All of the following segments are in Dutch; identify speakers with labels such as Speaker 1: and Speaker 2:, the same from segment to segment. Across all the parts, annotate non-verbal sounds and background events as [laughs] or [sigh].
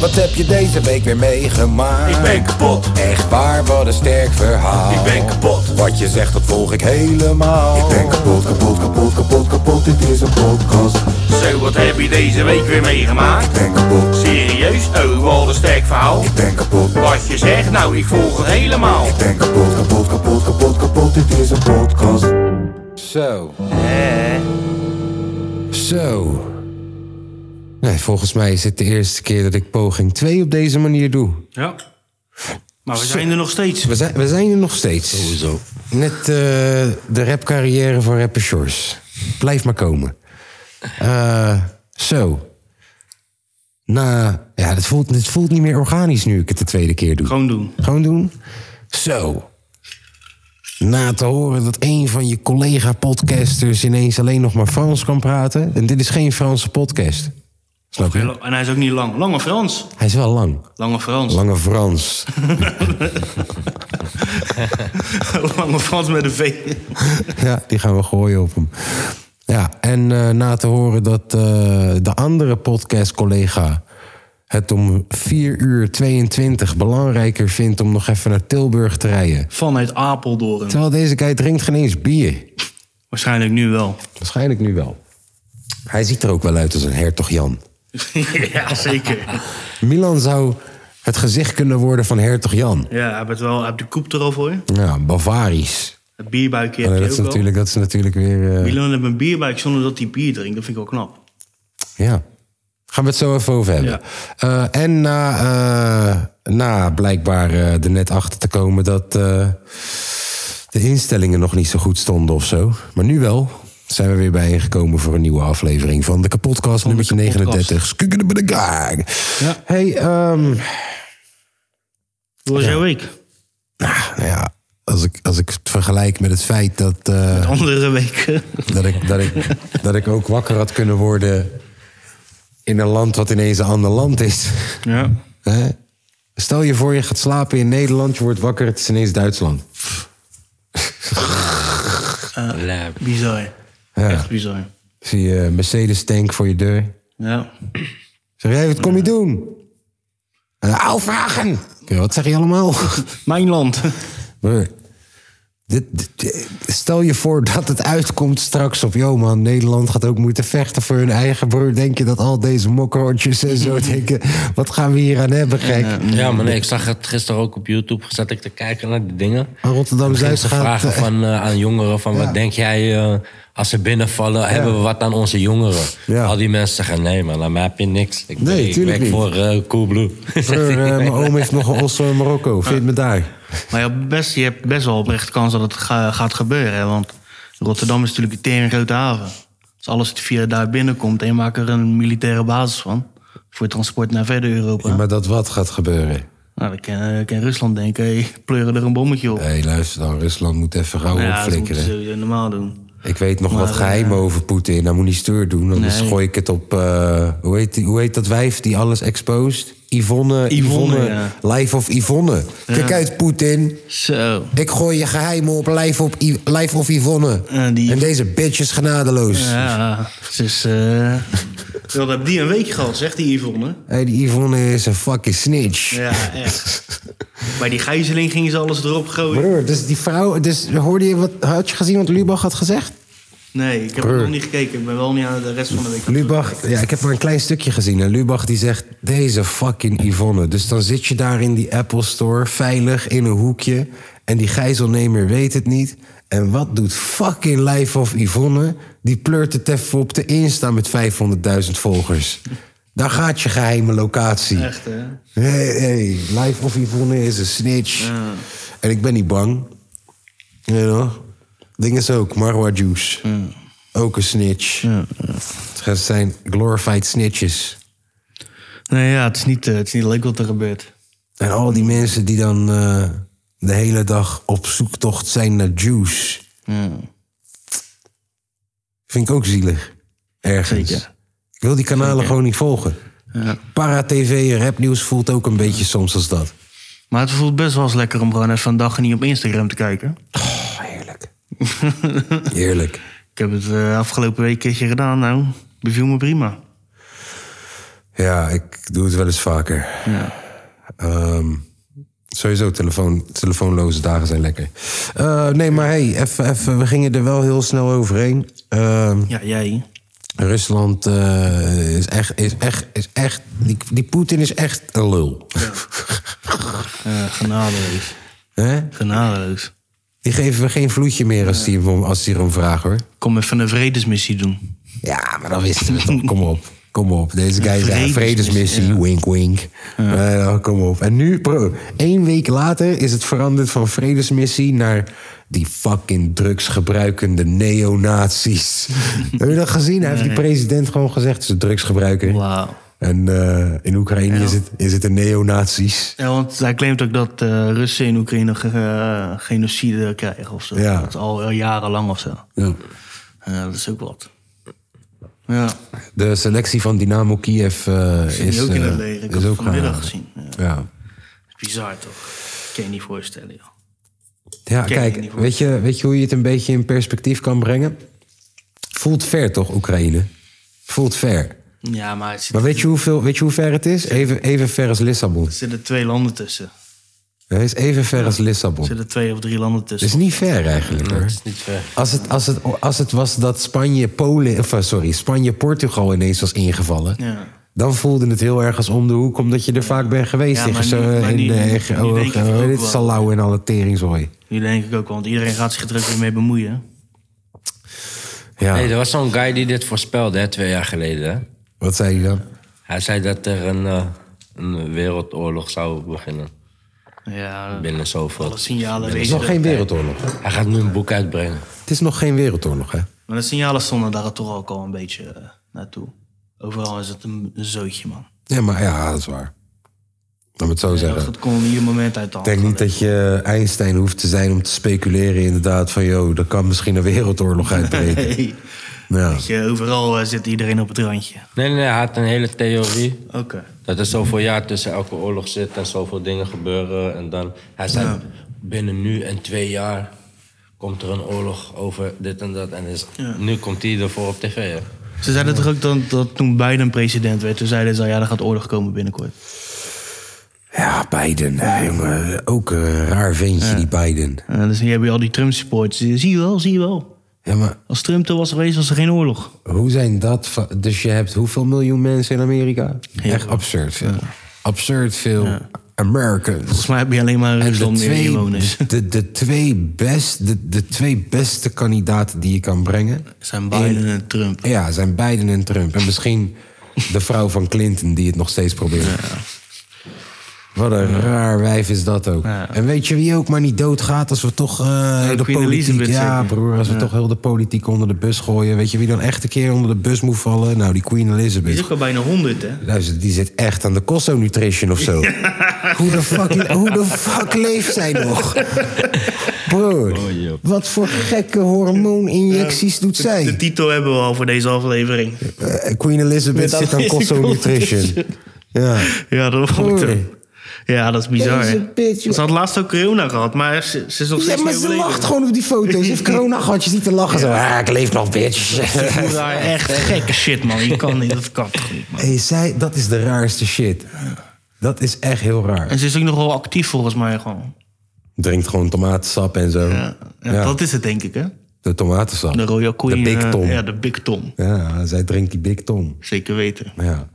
Speaker 1: Wat heb je deze week weer meegemaakt?
Speaker 2: Ik ben kapot.
Speaker 1: Echt waar, wat een sterk verhaal.
Speaker 2: Ik ben kapot.
Speaker 1: Wat je zegt, dat volg ik helemaal.
Speaker 3: Ik ben kapot, kapot, kapot, kapot, kapot, dit is een podcast.
Speaker 2: Zo, wat heb je deze week weer meegemaakt?
Speaker 3: Ik ben kapot,
Speaker 2: Serieus? Oh, wat een sterk verhaal.
Speaker 3: ik ben kapot,
Speaker 2: Wat je zegt, nou, ik volg het helemaal.
Speaker 3: ik ben kapot, kapot, kapot, kapot, kapot, dit is een podcast.
Speaker 1: Zo. Zo. Nee, volgens mij is het de eerste keer dat ik poging 2 op deze manier doe.
Speaker 2: Ja. Maar we zijn er nog steeds.
Speaker 1: We zijn, we zijn er nog steeds. Sowieso. Net eh, de rapcarrière van rapper Shores. Blijf maar komen. Eh, zo. Nou, ja, het voelt, het voelt niet meer organisch nu ik het de tweede keer doe.
Speaker 2: Gewoon doen.
Speaker 1: Gewoon doen. Zo. Na te horen dat een van je collega-podcasters ineens alleen nog maar Frans kan praten. En dit is geen Franse podcast. Snap je?
Speaker 2: En hij is ook niet lang. Lange Frans.
Speaker 1: Hij is wel lang.
Speaker 2: Lange Frans.
Speaker 1: Lange Frans.
Speaker 2: [laughs] Lange Frans met een V.
Speaker 1: [laughs] Ja, die gaan we gooien op hem. Ja, en eh, na te horen dat eh, de andere podcast-collega het om 4 uur 22 belangrijker vindt om nog even naar Tilburg te rijden.
Speaker 2: Vanuit Apeldoorn.
Speaker 1: Terwijl deze guy drinkt geen eens bier.
Speaker 2: Waarschijnlijk nu wel.
Speaker 1: Waarschijnlijk nu wel. Hij ziet er ook wel uit als een hertog Jan.
Speaker 2: [laughs] ja, zeker.
Speaker 1: Milan zou het gezicht kunnen worden van hertog Jan.
Speaker 2: Ja, hij heeft wel, hij heeft de koep er al voor je.
Speaker 1: Ja, Bavarisch.
Speaker 2: Het bierbuikje heb
Speaker 1: Alleen
Speaker 2: je
Speaker 1: Oh, dat, is
Speaker 2: ook al.
Speaker 1: natuurlijk, dat is natuurlijk weer... eh,
Speaker 2: Milan heeft een bierbuik zonder dat hij bier drinkt. Dat vind ik wel knap.
Speaker 1: Ja. Gaan we het zo even over
Speaker 2: Ja.
Speaker 1: hebben. Eh, en na, eh, na blijkbaar eh, er net achter te komen dat eh, de instellingen nog niet zo goed stonden of zo. Maar nu wel zijn we weer bijeengekomen voor een nieuwe aflevering van de kapotcast nummertje
Speaker 2: de Kapotkast.
Speaker 1: 39. Skukkende bij de gang.
Speaker 2: Ja.
Speaker 1: Hey, ehm,
Speaker 2: Hoe was jouw week?
Speaker 1: nou ja, als ik, als ik het vergelijk met het feit dat... eh,
Speaker 2: Andere weken.
Speaker 1: Dat ik, dat, ik, dat ik ook wakker had kunnen worden in een land wat ineens een ander land is.
Speaker 2: Ja.
Speaker 1: Hè? Stel je voor, je gaat slapen in Nederland, je wordt wakker, het is ineens Duitsland.
Speaker 4: Lab.
Speaker 2: [laughs] Bizar.
Speaker 1: Ja.
Speaker 2: Echt bizar.
Speaker 1: Zie je een Mercedes-tank voor je deur.
Speaker 2: Ja.
Speaker 1: Zeg jij, wat kom je doen? Uh, Au, vragen! Oké, Wat zeg je allemaal? [laughs]
Speaker 2: Mijn land.
Speaker 1: Broer, dit, dit- stel je voor dat het uitkomt straks op... joh man, Nederland gaat ook moeten vechten voor hun eigen broer. Denk je dat al deze mokkerotjes en zo denken... wat gaan we hier aan hebben, gek?
Speaker 4: Ja, maar nee, ik zag het gisteren ook op YouTube. Zat ik te kijken naar die dingen.
Speaker 1: Maar Rotterdam
Speaker 4: Ging
Speaker 1: Zuid
Speaker 4: ze
Speaker 1: gaat.
Speaker 4: vragen van, eh, aan jongeren van wat denk jij eh, als ze binnenvallen, hebben we wat aan onze jongeren?
Speaker 1: Ja.
Speaker 4: Al die mensen zeggen nee man, aan mij heb je niks. Ik,
Speaker 1: Nee,
Speaker 4: ik
Speaker 1: tuurlijk
Speaker 4: werk
Speaker 1: niet.
Speaker 4: voor eh, Coolblue.
Speaker 1: [laughs] Broer, eh, mijn oom heeft nog een osso in Marokko. Vind me daar.
Speaker 2: Maar je hebt best, je hebt best wel oprecht kans dat het ga- gaat gebeuren. Hè? Want Rotterdam is natuurlijk een tering grote haven. Dus alles wat via daar binnenkomt en je maakt er een militaire basis van. Voor transport naar verder Europa.
Speaker 1: Ja, maar dat wat gaat gebeuren?
Speaker 2: Nou, dan kan, eh, kan Rusland denken, hey, pleuren er een bommetje op.
Speaker 1: Hé, luister dan. Rusland moet even gauw
Speaker 2: Nou ja, dat moeten
Speaker 1: opflikkeren.
Speaker 2: ze sowieso normaal doen.
Speaker 1: Ik weet nog wat
Speaker 2: Maar, eh,
Speaker 1: geheimen over Poetin. Nou moet niet stoer doen. Anders
Speaker 2: Nee.
Speaker 1: gooi ik het op... eh, hoe, heet, die- hoe heet dat wijf die alles exposed? Yvonne.
Speaker 2: Yvonne,
Speaker 1: Yvonne.
Speaker 2: ja.
Speaker 1: Life of Yvonne. Kijk uit, Poetin.
Speaker 2: Zo.
Speaker 1: Ik gooi je geheimen op Life, op I- Life of Yvonne.
Speaker 2: Ja, Eh, die-
Speaker 1: En deze bitch is genadeloos.
Speaker 2: Ja, dus...
Speaker 1: [laughs]
Speaker 2: eh dat heb die een weekje gehad, zegt die Yvonne.
Speaker 1: Hé, die Yvonne is een fucking snitch.
Speaker 2: Ja, echt. Bij die gijzeling gingen ze alles erop gooien.
Speaker 1: Broer, dus die vrouw, dus hoorde je wat, had je gezien wat Lubach had gezegd?
Speaker 2: Nee, ik heb het
Speaker 1: Broer.
Speaker 2: nog niet gekeken. Ik ben wel niet aan de rest van de week.
Speaker 1: Lubach, ja, ik heb maar een klein stukje gezien. En Lubach die zegt, deze fucking Yvonne. Dus dan zit je daar in die Apple Store, veilig, in een hoekje. En die gijzelnemer weet het niet. En wat doet fucking Life of Yvonne? Die pleurt het even op de Insta met 500.000 volgers. Daar gaat je geheime locatie.
Speaker 2: Echt, hè?
Speaker 1: Hey, hey, Life of Yvonne is een snitch. En ik ben niet bang. You know? Ding is ook, Marwa Juice. Ook een snitch. Het zijn glorified snitches.
Speaker 2: Nee, ja, het is niet, eh, het is niet leuk wat er gebeurt.
Speaker 1: En al die mensen die dan eh, de hele dag op zoektocht zijn naar juice. Vind ik ook zielig. Ergens.
Speaker 2: Zeker.
Speaker 1: Ik wil die kanalen gewoon niet volgen. Para TV en rapnieuws voelt ook een beetje soms als dat.
Speaker 2: Maar het voelt best wel eens lekker om gewoon even een dag niet op Instagram te kijken.
Speaker 1: Oh, heerlijk. heerlijk.
Speaker 2: Ik heb het eh, afgelopen week een keertje gedaan, nou, beviel me prima.
Speaker 1: Ja, ik doe het wel eens vaker. Ehm, sowieso, telefoon, telefoonloze dagen zijn lekker. Eh, nee, maar hey, even, even, we gingen er wel heel snel overheen. Ehm,
Speaker 2: Ja, jij.
Speaker 1: Rusland eh, is echt, is echt, is echt die, die Poetin is echt een lul.
Speaker 2: Eh genadeloos.
Speaker 1: [laughs] Hè?
Speaker 2: Genadeloos.
Speaker 1: Die geven we geen vloedje meer als die, hem om- als die erom vragen hoor.
Speaker 2: Kom even een vredesmissie doen.
Speaker 1: Ja, maar dat wisten we toch. Kom op. Kom op. Deze guy is echt een vredesmissie.
Speaker 2: Vredesmissie, ja.
Speaker 1: Wink, wink. Eh, kom op. En nu, bro, één week later is het veranderd van vredesmissie naar die fucking drugsgebruikende
Speaker 2: [laughs]
Speaker 1: neonazies. Heb je dat gezien? Hij heeft die president gewoon gezegd, ze drugsgebruiker.
Speaker 2: Wauw.
Speaker 1: En eh, in Oekraïne is, het, is het de neonazies.
Speaker 2: Ja, want hij claimt ook dat eh, Russen in Oekraïne ge- eh, genocide krijgen of zo.
Speaker 1: Ja.
Speaker 2: Dat is al jarenlang of zo.
Speaker 1: Ja.
Speaker 2: Ja, dat is ook wat. Ja,
Speaker 1: De selectie van Dynamo Kiev eh,
Speaker 2: ik is
Speaker 1: is,
Speaker 2: ook in het
Speaker 1: eh,
Speaker 2: leger. Ik
Speaker 1: is
Speaker 2: heb het
Speaker 1: ook
Speaker 2: vanmiddag
Speaker 1: gehaald.
Speaker 2: gezien. Ja.
Speaker 1: Ja.
Speaker 2: Bizar toch? Kan je niet voorstellen, joh.
Speaker 1: Ja,
Speaker 2: Ken
Speaker 1: kijk,
Speaker 2: je niet, hoor.
Speaker 1: weet je, weet je hoe je het een beetje in perspectief kan brengen? Voelt ver toch, Oekraïne? Voelt ver.
Speaker 2: Ja, maar het zit,
Speaker 1: Maar weet je, hoeveel, weet je hoe ver het is? Even, even ver als Lissabon.
Speaker 2: er zitten twee landen tussen.
Speaker 1: Het is even ver als Lissabon.
Speaker 2: Er zitten twee of drie landen
Speaker 1: Het is
Speaker 2: tussen.
Speaker 1: niet ver eigenlijk hoor.
Speaker 4: Niet ver.
Speaker 1: Als het, als, het, als het was dat Spanje, Polen, of, eh, sorry, Spanje, Portugal ineens was ingevallen,
Speaker 2: Ja.
Speaker 1: dan voelde het heel erg als om de hoek, omdat je er vaak bent geweest.
Speaker 2: Ja,
Speaker 1: in
Speaker 2: maar
Speaker 1: zo-
Speaker 2: nu- maar
Speaker 1: in
Speaker 2: nu-
Speaker 1: de-
Speaker 2: nu- nu
Speaker 1: eh,
Speaker 2: denk ik
Speaker 1: eh,
Speaker 2: het ook
Speaker 1: dit
Speaker 2: wel.
Speaker 1: Salau en alle teringzooi.
Speaker 2: Nu denk ik ook wel, want iedereen gaat zich er ook weer mee bemoeien.
Speaker 1: Ja,
Speaker 4: Nee, er was zo'n guy die dit voorspelde, hè, twee jaar geleden. Hè?
Speaker 1: wat zei je dan?
Speaker 4: Hij zei dat er een, eh, een wereldoorlog zou beginnen.
Speaker 2: Ja,
Speaker 4: Binnen zoveel.
Speaker 2: alle signalen
Speaker 1: Het is
Speaker 2: wezen.
Speaker 1: nog geen wereldoorlog.
Speaker 4: Hij gaat nu een boek uitbrengen.
Speaker 1: Het is nog geen wereldoorlog, hè?
Speaker 2: Maar de signalen stonden daar toch ook al een beetje eh, naartoe. Overal is het een, een zootje, man.
Speaker 1: Ja, maar ja, dat is waar. Laat me het zo zeggen.
Speaker 2: Dat kon ieder moment uit de hand
Speaker 1: Ik denk
Speaker 2: gaan
Speaker 1: niet dat je Einstein hoeft te zijn om te speculeren inderdaad van... joh, er kan misschien een
Speaker 2: [laughs]
Speaker 1: wereldoorlog uitbreken.
Speaker 2: liggen. Nee.
Speaker 1: Ja.
Speaker 2: Weet je, overal eh, zit iedereen op het randje.
Speaker 4: Nee, nee, hij had een hele theorie.
Speaker 2: Oké.
Speaker 4: Dat er zoveel jaar tussen elke oorlog zit en zoveel dingen gebeuren. En dan, hij zei, binnen nu en twee jaar komt er een oorlog over dit en dat. En is, nu komt hij ervoor op tv. Hè?
Speaker 2: Ze zeiden toch ook dat, dat toen Biden president werd, toen zeiden ze al, ja, er gaat oorlog komen binnenkort.
Speaker 1: ja, Biden, eh, jongen. Ook een raar ventje, die Biden.
Speaker 2: En dus hier heb je al die Trump-supporters. die- Zie je wel, zie je wel.
Speaker 1: Ja, maar
Speaker 2: Als Trump er was geweest, was er geen oorlog.
Speaker 1: hoe zijn dat... va- Dus je hebt hoeveel miljoen mensen in Amerika?
Speaker 2: Heel
Speaker 1: Echt
Speaker 2: veel.
Speaker 1: absurd veel. Absurd veel Americans.
Speaker 2: Volgens mij heb je alleen maar
Speaker 1: En de
Speaker 2: Rusland meer die
Speaker 1: twee, [laughs]
Speaker 2: inwoners.
Speaker 1: de, de, twee best, de, de twee beste kandidaten die je kan brengen...
Speaker 2: Zijn Biden en Trump.
Speaker 1: Ja, zijn Biden en Trump. En
Speaker 2: [laughs]
Speaker 1: misschien de vrouw van Clinton die het nog steeds probeert. Wat een raar wijf is dat ook. En weet je wie ook maar niet doodgaat als we toch eh, de
Speaker 2: Queen
Speaker 1: politiek...
Speaker 2: Elizabeth
Speaker 1: Ja,
Speaker 2: zeker.
Speaker 1: broer, als we toch heel de politiek onder de bus gooien. Weet je wie dan echt een keer onder de bus moet vallen? Nou, die Queen
Speaker 2: Die
Speaker 1: Elizabeth.
Speaker 2: is ook al bijna 100, hè?
Speaker 1: Luister, die zit echt aan de Cosso Nutrition of zo. Hoe, de fuck, hoe de fuck leeft zij nog?
Speaker 2: [laughs]
Speaker 1: Broer,
Speaker 2: Oh,
Speaker 1: wat voor gekke hormooninjecties doet zij?
Speaker 2: De titel hebben we al voor deze aflevering.
Speaker 1: Eh, Queen Elizabeth
Speaker 2: Met
Speaker 1: zit aan
Speaker 2: alleen
Speaker 1: Cosso
Speaker 2: die
Speaker 1: Nutrition. Ja.
Speaker 2: Ja, dat
Speaker 1: Oei.
Speaker 2: vond ik ook. Ja, dat is bizar.
Speaker 1: Deze
Speaker 2: hè?
Speaker 1: bitch, joh.
Speaker 2: ze had laatst ook corona gehad, maar ze, ze is nog
Speaker 1: ja,
Speaker 2: steeds
Speaker 1: maar
Speaker 2: niet
Speaker 1: ze
Speaker 2: overleden.
Speaker 1: lacht gewoon op die foto's. Ze [laughs] heeft corona gehad, je ziet te lachen. Zo, ah, ik leef nog, [laughs] bitch.
Speaker 2: Ik voel daar echt
Speaker 1: [laughs]
Speaker 2: gekke shit, man. Je kan niet, dat kan toch niet, man.
Speaker 1: hey, zij, dat is de raarste shit. Dat is echt heel raar.
Speaker 2: En ze is ook nogal actief volgens mij gewoon.
Speaker 1: Drinkt gewoon tomatensap en zo.
Speaker 2: Ja, ja,
Speaker 1: Ja,
Speaker 2: Dat is het denk ik, hè?
Speaker 1: De tomatensap.
Speaker 2: De Royal Queen.
Speaker 1: De Big
Speaker 2: eh,
Speaker 1: Tom.
Speaker 2: ja, de Big Tom.
Speaker 1: Ja, zij drinkt die Big Tom.
Speaker 2: Zeker weten.
Speaker 1: Ja.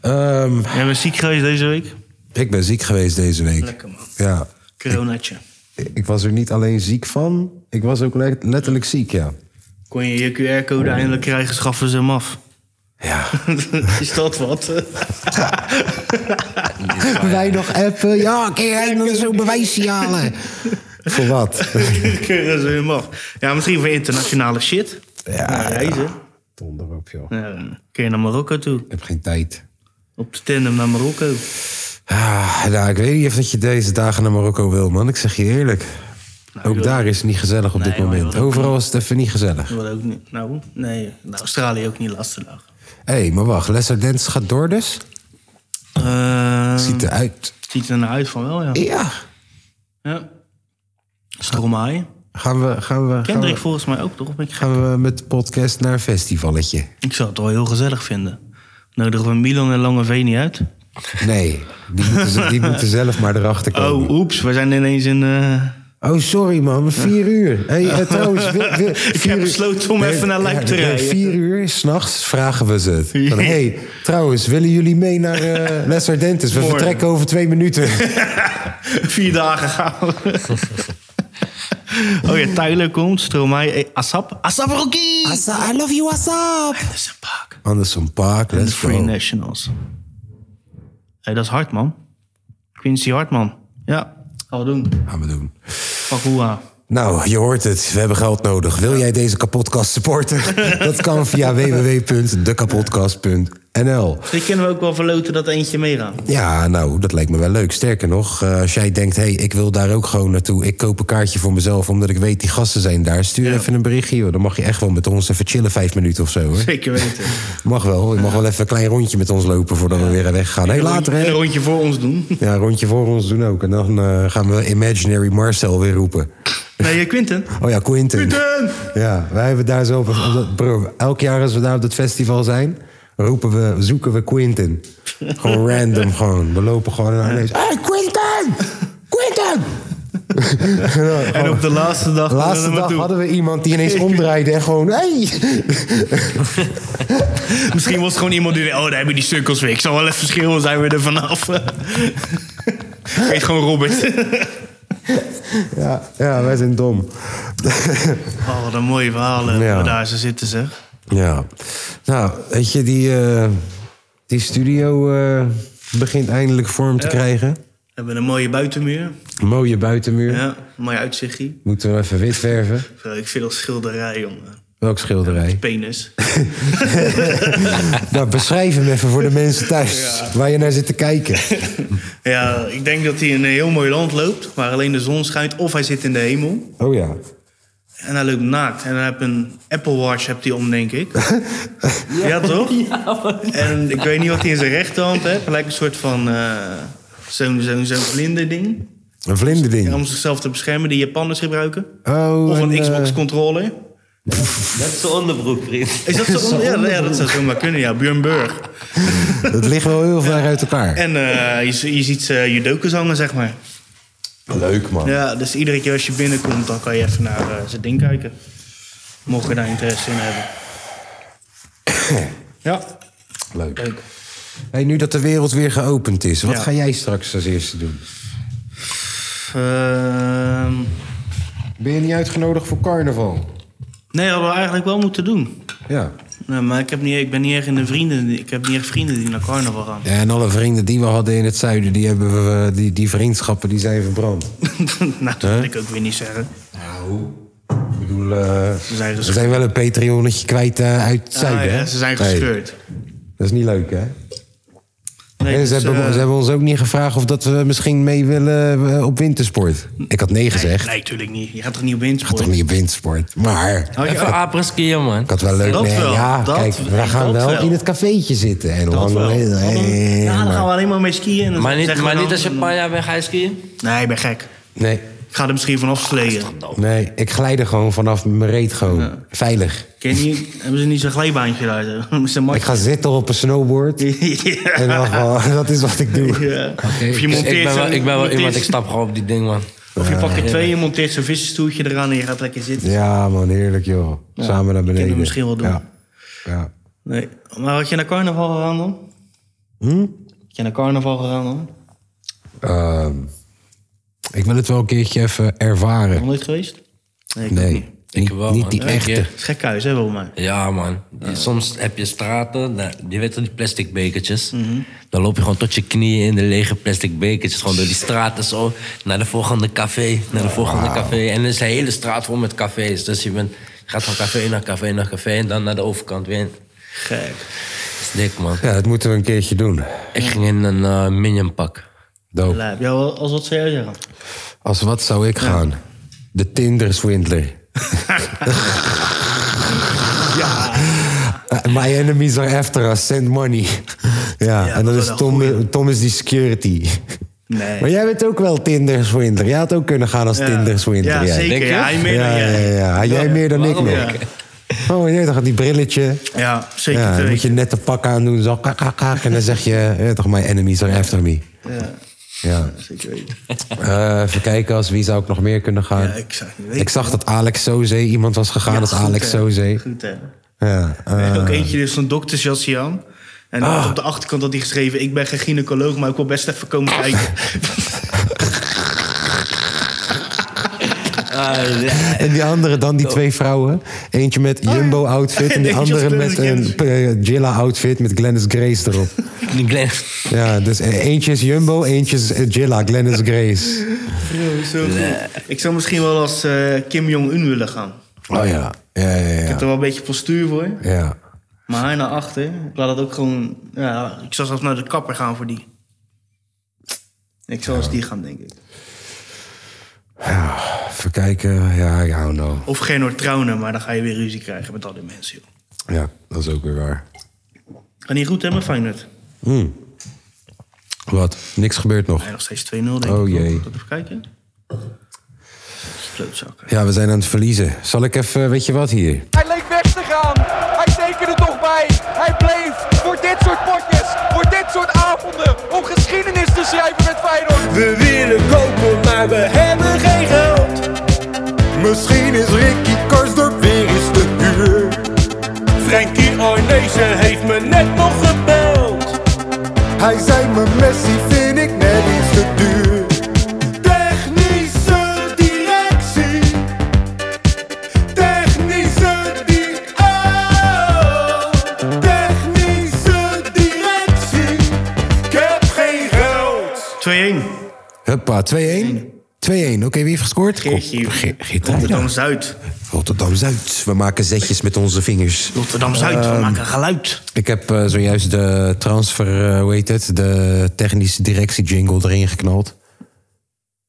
Speaker 1: Ehm,
Speaker 2: Jij bent ziek geweest deze week?
Speaker 1: ik ben ziek geweest deze week.
Speaker 2: Lekker, man.
Speaker 1: Ja.
Speaker 2: Coronatje.
Speaker 1: Ik was er niet alleen ziek van, ik was ook le- letterlijk ziek, ja.
Speaker 2: Kon je je QR-code eindelijk krijgen, schaffen ze hem af.
Speaker 1: Ja.
Speaker 2: [laughs] is dat wat?
Speaker 1: Wij nog appen. Ja, kun je eindelijk zo'n bewijsje halen? Voor wat?
Speaker 2: Keuren ze hem af. Ja, misschien voor internationale shit. Ja, reizen.
Speaker 1: Donder op, joh.
Speaker 2: Ja, kun je naar Marokko toe.
Speaker 1: Ik heb geen tijd.
Speaker 2: Op de tandem naar Marokko.
Speaker 1: Ah, nou, ik weet niet of dat je deze dagen naar Marokko wil, man. Ik zeg je eerlijk. ook
Speaker 2: Nou, joh.
Speaker 1: daar is het niet gezellig op
Speaker 2: Nee,
Speaker 1: dit
Speaker 2: joh,
Speaker 1: moment.
Speaker 2: joh.
Speaker 1: Overal is het even niet gezellig.
Speaker 2: Dat wordt ook niet. Nou, nee. Nou, Australië ook niet laatste dag.
Speaker 1: Hé, hey, maar wacht. Lesser Dance gaat door dus?
Speaker 2: Eh,
Speaker 1: Ziet eruit.
Speaker 2: ziet er naar uit van wel, ja.
Speaker 1: Ja.
Speaker 2: ja. Stromae.
Speaker 1: Gaan we, gaan we, gaan
Speaker 2: Kendrick
Speaker 1: we,
Speaker 2: volgens mij ook, toch? Een beetje gek.
Speaker 1: gaan we met de podcast naar een festivalletje?
Speaker 2: Ik zou het wel heel gezellig vinden. Nodigen we Milan en Lange V niet uit?
Speaker 1: Nee, die moeten, ze- die moeten zelf maar erachter komen.
Speaker 2: Oh, oeps, we zijn ineens in... eh,
Speaker 1: Oh, sorry man, vier uur. Hey,
Speaker 2: [laughs]
Speaker 1: eh, trouwens, wi- wi- vier uur-
Speaker 2: besloten om even naar Luik te
Speaker 1: ja,
Speaker 2: rijden.
Speaker 1: Vier uur s'nachts vragen we ze het. Van,
Speaker 2: Ja.
Speaker 1: hey, trouwens, willen jullie mee naar
Speaker 2: [laughs]
Speaker 1: eh Les Ardentes? We
Speaker 2: Morgen.
Speaker 1: vertrekken over twee minuten.
Speaker 2: [laughs] Vier dagen gaan [laughs] we. oh ja, Tyler komt, Stromae, eh, Asap. Asap Rocky!
Speaker 1: I love you, Asap.
Speaker 2: Anderson Paak.
Speaker 1: Anderson Park,
Speaker 2: De
Speaker 1: let's
Speaker 2: Free
Speaker 1: go.
Speaker 2: Nationals. Hé, dat is Hartman. Quincy Hartman. Ja, gaan we doen.
Speaker 1: Gaan we doen.
Speaker 2: Pak hoera.
Speaker 1: Nou, je hoort het. We hebben geld nodig. Wil jij deze kapotkast
Speaker 2: [laughs]
Speaker 1: supporten? Dat kan via www.dekapotkast.nl.
Speaker 2: Die kunnen we ook wel verloten dat eentje meegaat.
Speaker 1: Ja, nou, dat lijkt me wel leuk. Sterker nog, eh, als jij denkt, hey, ik wil daar ook gewoon naartoe. Ik koop een kaartje voor mezelf, omdat ik weet die gasten zijn daar. Stuur even een berichtje, joh. Dan mag je echt wel met ons even chillen vijf minuten of zo, hoor.
Speaker 2: [laughs] Zeker weten.
Speaker 1: Mag wel. Je mag wel even een klein rondje met ons lopen voordat we weer weggaan. Hé, later,
Speaker 2: En
Speaker 1: hè.
Speaker 2: een rondje voor ons doen.
Speaker 1: Ja, een rondje voor ons doen ook. En dan eh, gaan we Imaginary Marcel weer roepen.
Speaker 2: Nee, eh, Quinten.
Speaker 1: Oh ja, Quinten.
Speaker 2: Quinten!
Speaker 1: Ja, wij hebben daar zo... Op, op dat- bro, elk jaar als we daar op dat festival zijn... roepen we, zoeken we Quinten. Gewoon random, gewoon. We lopen gewoon naar ineens... Hey, Quinten! Quinten!
Speaker 2: En op de laatste dag...
Speaker 1: De laatste
Speaker 2: gaan we
Speaker 1: dag
Speaker 2: naartoe.
Speaker 1: hadden we iemand die ineens omdraaide en gewoon... Hey!
Speaker 2: Misschien was het gewoon iemand die... dacht, Oh, daar hebben die cirkels weer. Ik zal wel even schreeuwen, zijn we er vanaf. Heet gewoon Robert.
Speaker 1: Ja, ja, wij zijn dom.
Speaker 2: Oh, wat een mooie verhalen.
Speaker 1: Ja.
Speaker 2: waar Daar ze zitten, zeg.
Speaker 1: Ja. Nou, weet je, die, eh, die studio eh, begint eindelijk vorm te krijgen.
Speaker 2: We hebben een mooie buitenmuur.
Speaker 1: Mooie buitenmuur.
Speaker 2: Ja, een mooi uitzichtje.
Speaker 1: Moeten we hem even wit verven.
Speaker 2: Ik vind dat schilderij, jongen.
Speaker 1: Welk schilderij?
Speaker 2: [laughs] Penis.
Speaker 1: Nou, beschrijf hem even voor de mensen thuis. Waar je naar zit te kijken.
Speaker 2: Ja, ik denk dat hij in een heel mooi land loopt. Waar alleen de zon schijnt. Of hij zit in de hemel.
Speaker 1: Oh ja.
Speaker 2: En hij loopt naakt. En hij heeft een Apple Watch hebt hij om, denk
Speaker 1: [laughs]
Speaker 2: ik. ja, toch?
Speaker 4: [laughs]
Speaker 2: en ik weet niet wat hij in zijn rechterhand heeft. Hij lijkt een soort van... eh, Zo'n zo'n zo'n vlinderding.
Speaker 1: Een vlinderding.
Speaker 2: Om zichzelf te beschermen, die Japanners gebruiken.
Speaker 1: Oh,
Speaker 2: Of een
Speaker 1: eh,
Speaker 2: Xbox-controller.
Speaker 4: Dat is de onderbroek, vriend.
Speaker 2: Is dat
Speaker 4: [laughs]
Speaker 2: zo? on- Ja, ja, dat zou zomaar kunnen, ja. Björn Borg.
Speaker 1: Dat eh, ligt wel heel ver uit elkaar.
Speaker 2: En eh, je, z- je ziet ze judokas hangen, zeg maar.
Speaker 1: Leuk, man.
Speaker 2: Ja, dus iedere keer als je binnenkomt, dan kan je even naar eh, zijn ding kijken. Mocht je daar interesse in hebben. ja,
Speaker 1: Leuk.
Speaker 2: leuk.
Speaker 1: Hey, nu dat de wereld weer geopend is, wat
Speaker 2: Ja.
Speaker 1: ga jij straks als eerste doen?
Speaker 2: Ehm,
Speaker 1: Ben je niet uitgenodigd voor carnaval?
Speaker 2: nee, hadden we eigenlijk wel moeten doen.
Speaker 1: Ja.
Speaker 2: Nee, maar ik, heb niet, ik ben niet echt in de vrienden. Ik heb niet echt vrienden die naar carnaval gaan. [laughs]
Speaker 1: En alle vrienden die we hadden in het zuiden, die, hebben we, eh, die, die vriendschappen die zijn verbrand.
Speaker 2: nou, dat wil ik ook weer niet zeggen.
Speaker 1: Nou, ik bedoel, eh,
Speaker 2: zijn
Speaker 1: we
Speaker 2: gescheurd.
Speaker 1: zijn wel een Patreonnetje kwijt eh, uit het zuiden.
Speaker 2: Ah, ja,
Speaker 1: hè?
Speaker 2: ze zijn
Speaker 1: Nee,
Speaker 2: gescheurd.
Speaker 1: dat is niet leuk, hè?
Speaker 2: Nee,
Speaker 1: En
Speaker 2: dus,
Speaker 1: ze, hebben,
Speaker 2: eh,
Speaker 1: ze hebben ons ook niet gevraagd of dat we misschien mee willen eh, op wintersport. Ik had nee gezegd.
Speaker 2: Nee, natuurlijk niet. Je gaat toch niet op wintersport?
Speaker 1: Gaat toch niet op wintersport? Maar
Speaker 2: Had je-
Speaker 4: Even apreskiën, man.
Speaker 1: ik had wel leuk.
Speaker 2: Dat
Speaker 1: nee,
Speaker 2: wel,
Speaker 1: ja,
Speaker 2: dat-
Speaker 1: kijk, we
Speaker 2: dat
Speaker 1: gaan wel,
Speaker 2: wel.
Speaker 1: in het cafeetje zitten. En lang
Speaker 2: wel.
Speaker 1: nee, nee,
Speaker 2: ja, dan gaan we
Speaker 1: maar-
Speaker 2: alleen maar mee skiën. En dan
Speaker 4: Maar niet,
Speaker 2: zeggen we
Speaker 4: maar
Speaker 2: dan-
Speaker 4: niet als je een paar jaar weg gaat skiën?
Speaker 2: Nee, ik ben gek.
Speaker 1: nee,
Speaker 2: Ik ga er misschien vanaf sleden.
Speaker 1: nee, ik glijd er gewoon vanaf mijn reet gewoon. Veilig.
Speaker 2: Ken je, niet- hebben ze niet zo'n glijbaantje daar? [laughs] zo? Met zo'n
Speaker 1: Ik
Speaker 2: matje.
Speaker 1: ga zitten op een snowboard.
Speaker 2: ja.
Speaker 1: En dan gewoon, [laughs] dat is wat ik doe.
Speaker 2: Ja. Of
Speaker 1: dus
Speaker 2: je
Speaker 4: Ik
Speaker 2: monteert
Speaker 4: ben wel,
Speaker 2: zo'n-
Speaker 4: ik ben wel
Speaker 2: monteert-
Speaker 4: iemand, ik stap gewoon op die ding, man.
Speaker 2: Of je pakt er twee, je monteert zo'n vissenstoeltje eraan en je gaat lekker zitten.
Speaker 1: Ja, man, heerlijk joh. Samen naar beneden.
Speaker 2: Kunnen we misschien wel doen.
Speaker 1: Ja. ja.
Speaker 2: Nee. Maar had je naar carnaval gegaan dan?
Speaker 1: Hm?
Speaker 2: Had je naar carnaval gegaan dan?
Speaker 1: Ehm, ik wil het wel een keertje even ervaren.
Speaker 2: Nog nooit geweest? Nee. ik ook niet.
Speaker 1: Nee,
Speaker 4: Ik
Speaker 1: niet,
Speaker 4: wel,
Speaker 1: niet
Speaker 4: man.
Speaker 1: die
Speaker 4: Eén keer.
Speaker 1: echte.
Speaker 2: Het is gek huis, hè, volgens mij.
Speaker 4: Ja, man. Soms heb je straten, nou, je weet toch die plastic bekertjes. Dan loop je gewoon tot je knieën in de lege plastic bekertjes. Gewoon door die straten zo, naar de volgende café, naar de volgende café. En dan is de hele straat vol met cafés. Dus je, bent, je gaat van café naar café naar café en dan naar de overkant weer.
Speaker 2: Gek.
Speaker 4: Dat is dik, man.
Speaker 1: Ja, dat moeten we een keertje doen.
Speaker 4: Ik ging in een eh, minion pak.
Speaker 1: Doop.
Speaker 2: Lijp. Ja, wel- als wat zou jij zeggen?
Speaker 1: Als wat zou ik gaan? De Tinder-swindler. ja. Eh, my enemies are after us. Send money. ja, en
Speaker 2: dat
Speaker 1: dan
Speaker 2: is
Speaker 1: is
Speaker 2: een
Speaker 1: Tom, Tom is die security.
Speaker 2: Nee.
Speaker 1: Maar jij bent ook wel Tinder-swindler. Jij had ook kunnen gaan als
Speaker 2: Ja.
Speaker 1: Tinder-swindler.
Speaker 2: Ja,
Speaker 1: jij.
Speaker 2: zeker.
Speaker 4: Denk je?
Speaker 2: Ja, hij meer
Speaker 1: Ja,
Speaker 2: dan
Speaker 1: ja,
Speaker 2: jij.
Speaker 1: ja. Jij meer dan ik
Speaker 4: Waarom?
Speaker 1: nog.
Speaker 2: Ja.
Speaker 1: Oh, je weet toch, die brilletje.
Speaker 2: Ja, zeker.
Speaker 1: Ja, dan
Speaker 2: twee.
Speaker 1: moet je net een pak aandoen, zo kak, kak, kak. En dan zeg je, je weet toch, my enemies are after me.
Speaker 2: Ja,
Speaker 1: Ja.
Speaker 2: zeker weten.
Speaker 1: Eh, even kijken, als wie zou ik nog meer kunnen gaan?
Speaker 2: Ja, ik zou het niet weten.
Speaker 1: Ik zag dat Alex Soze iemand was gegaan als
Speaker 2: goed,
Speaker 1: Alex
Speaker 2: hè.
Speaker 1: Soze.
Speaker 2: Goed, hè.
Speaker 1: Ja,
Speaker 2: Er
Speaker 1: eh,
Speaker 2: is ook eentje dus zo'n doktersjasje aan. En
Speaker 1: Ah.
Speaker 2: op de achterkant had hij geschreven... ik ben geen gynaecoloog, maar ik wil best even komen
Speaker 1: [laughs]
Speaker 2: kijken.
Speaker 1: [laughs] en die andere dan, die twee vrouwen. Eentje met
Speaker 2: [laughs]
Speaker 1: Jumbo-outfit en die
Speaker 2: Oh. Eentje als
Speaker 1: andere met
Speaker 2: Glennis
Speaker 1: een eh, Gilla-outfit met Glennis Grace erop.
Speaker 4: [laughs] Die Glenn.
Speaker 1: Ja, dus eh, eentje is Jumbo, eentje is eh, Gilla, Glennis Grace.
Speaker 2: Bro, zo goed. Ik zou misschien wel als eh, Kim Jong-un willen gaan.
Speaker 1: Oh ja, ja, ja,
Speaker 2: Ik heb
Speaker 1: ja.
Speaker 2: er wel een beetje postuur voor.
Speaker 1: ja.
Speaker 2: Maar hij naar achter. Ik laat het ook gewoon... Ja, ik zou zelfs naar de kapper gaan voor die. Ik zou als die gaan, denk ik.
Speaker 1: Even kijken, ja, ik hou nou.
Speaker 2: Of Gernot Trouwen, maar dan ga je weer ruzie krijgen met al die mensen, joh.
Speaker 1: Ja, dat is ook weer waar.
Speaker 2: Gaat niet goed, hè, met Feyenoord?
Speaker 1: Wat? Niks gebeurt nog.
Speaker 2: Nee, nog steeds 2-0, denk ik.
Speaker 1: Oh,
Speaker 2: toch?
Speaker 1: jee.
Speaker 2: Even kijken. Klootzakken.
Speaker 1: Ja, we zijn aan het verliezen. Zal ik even, weet je wat hier?
Speaker 5: Hij leek weg te gaan. Hij tekende toch bij. Hij bleef voor dit soort potjes, voor dit soort avonden, om geschiedenis te schrijven met Feyenoord.
Speaker 6: We willen kopen, maar we hebben geen geld. Misschien is Ricky Karsdorp weer eens te duur. Frankie Arnezen heeft me net nog gebeld. Hij zei me Messi vind ik net iets te duur. Technische directie. Technische di- oh. Technische directie. Ik heb geen geld.
Speaker 2: 2-1.
Speaker 1: Huppa, 2-1. 2-1, oké, wie heeft gescoord?
Speaker 2: Geertje.
Speaker 1: Kom, Ge- Geertje.
Speaker 2: Rotterdam-Zuid.
Speaker 1: Rotterdam-Zuid. We maken zetjes met onze vingers.
Speaker 2: Rotterdam-Zuid,
Speaker 1: Ehm.
Speaker 2: we maken geluid.
Speaker 1: Ik heb eh, zojuist de transfer, eh, hoe heet het, de technische directie jingle erin geknald.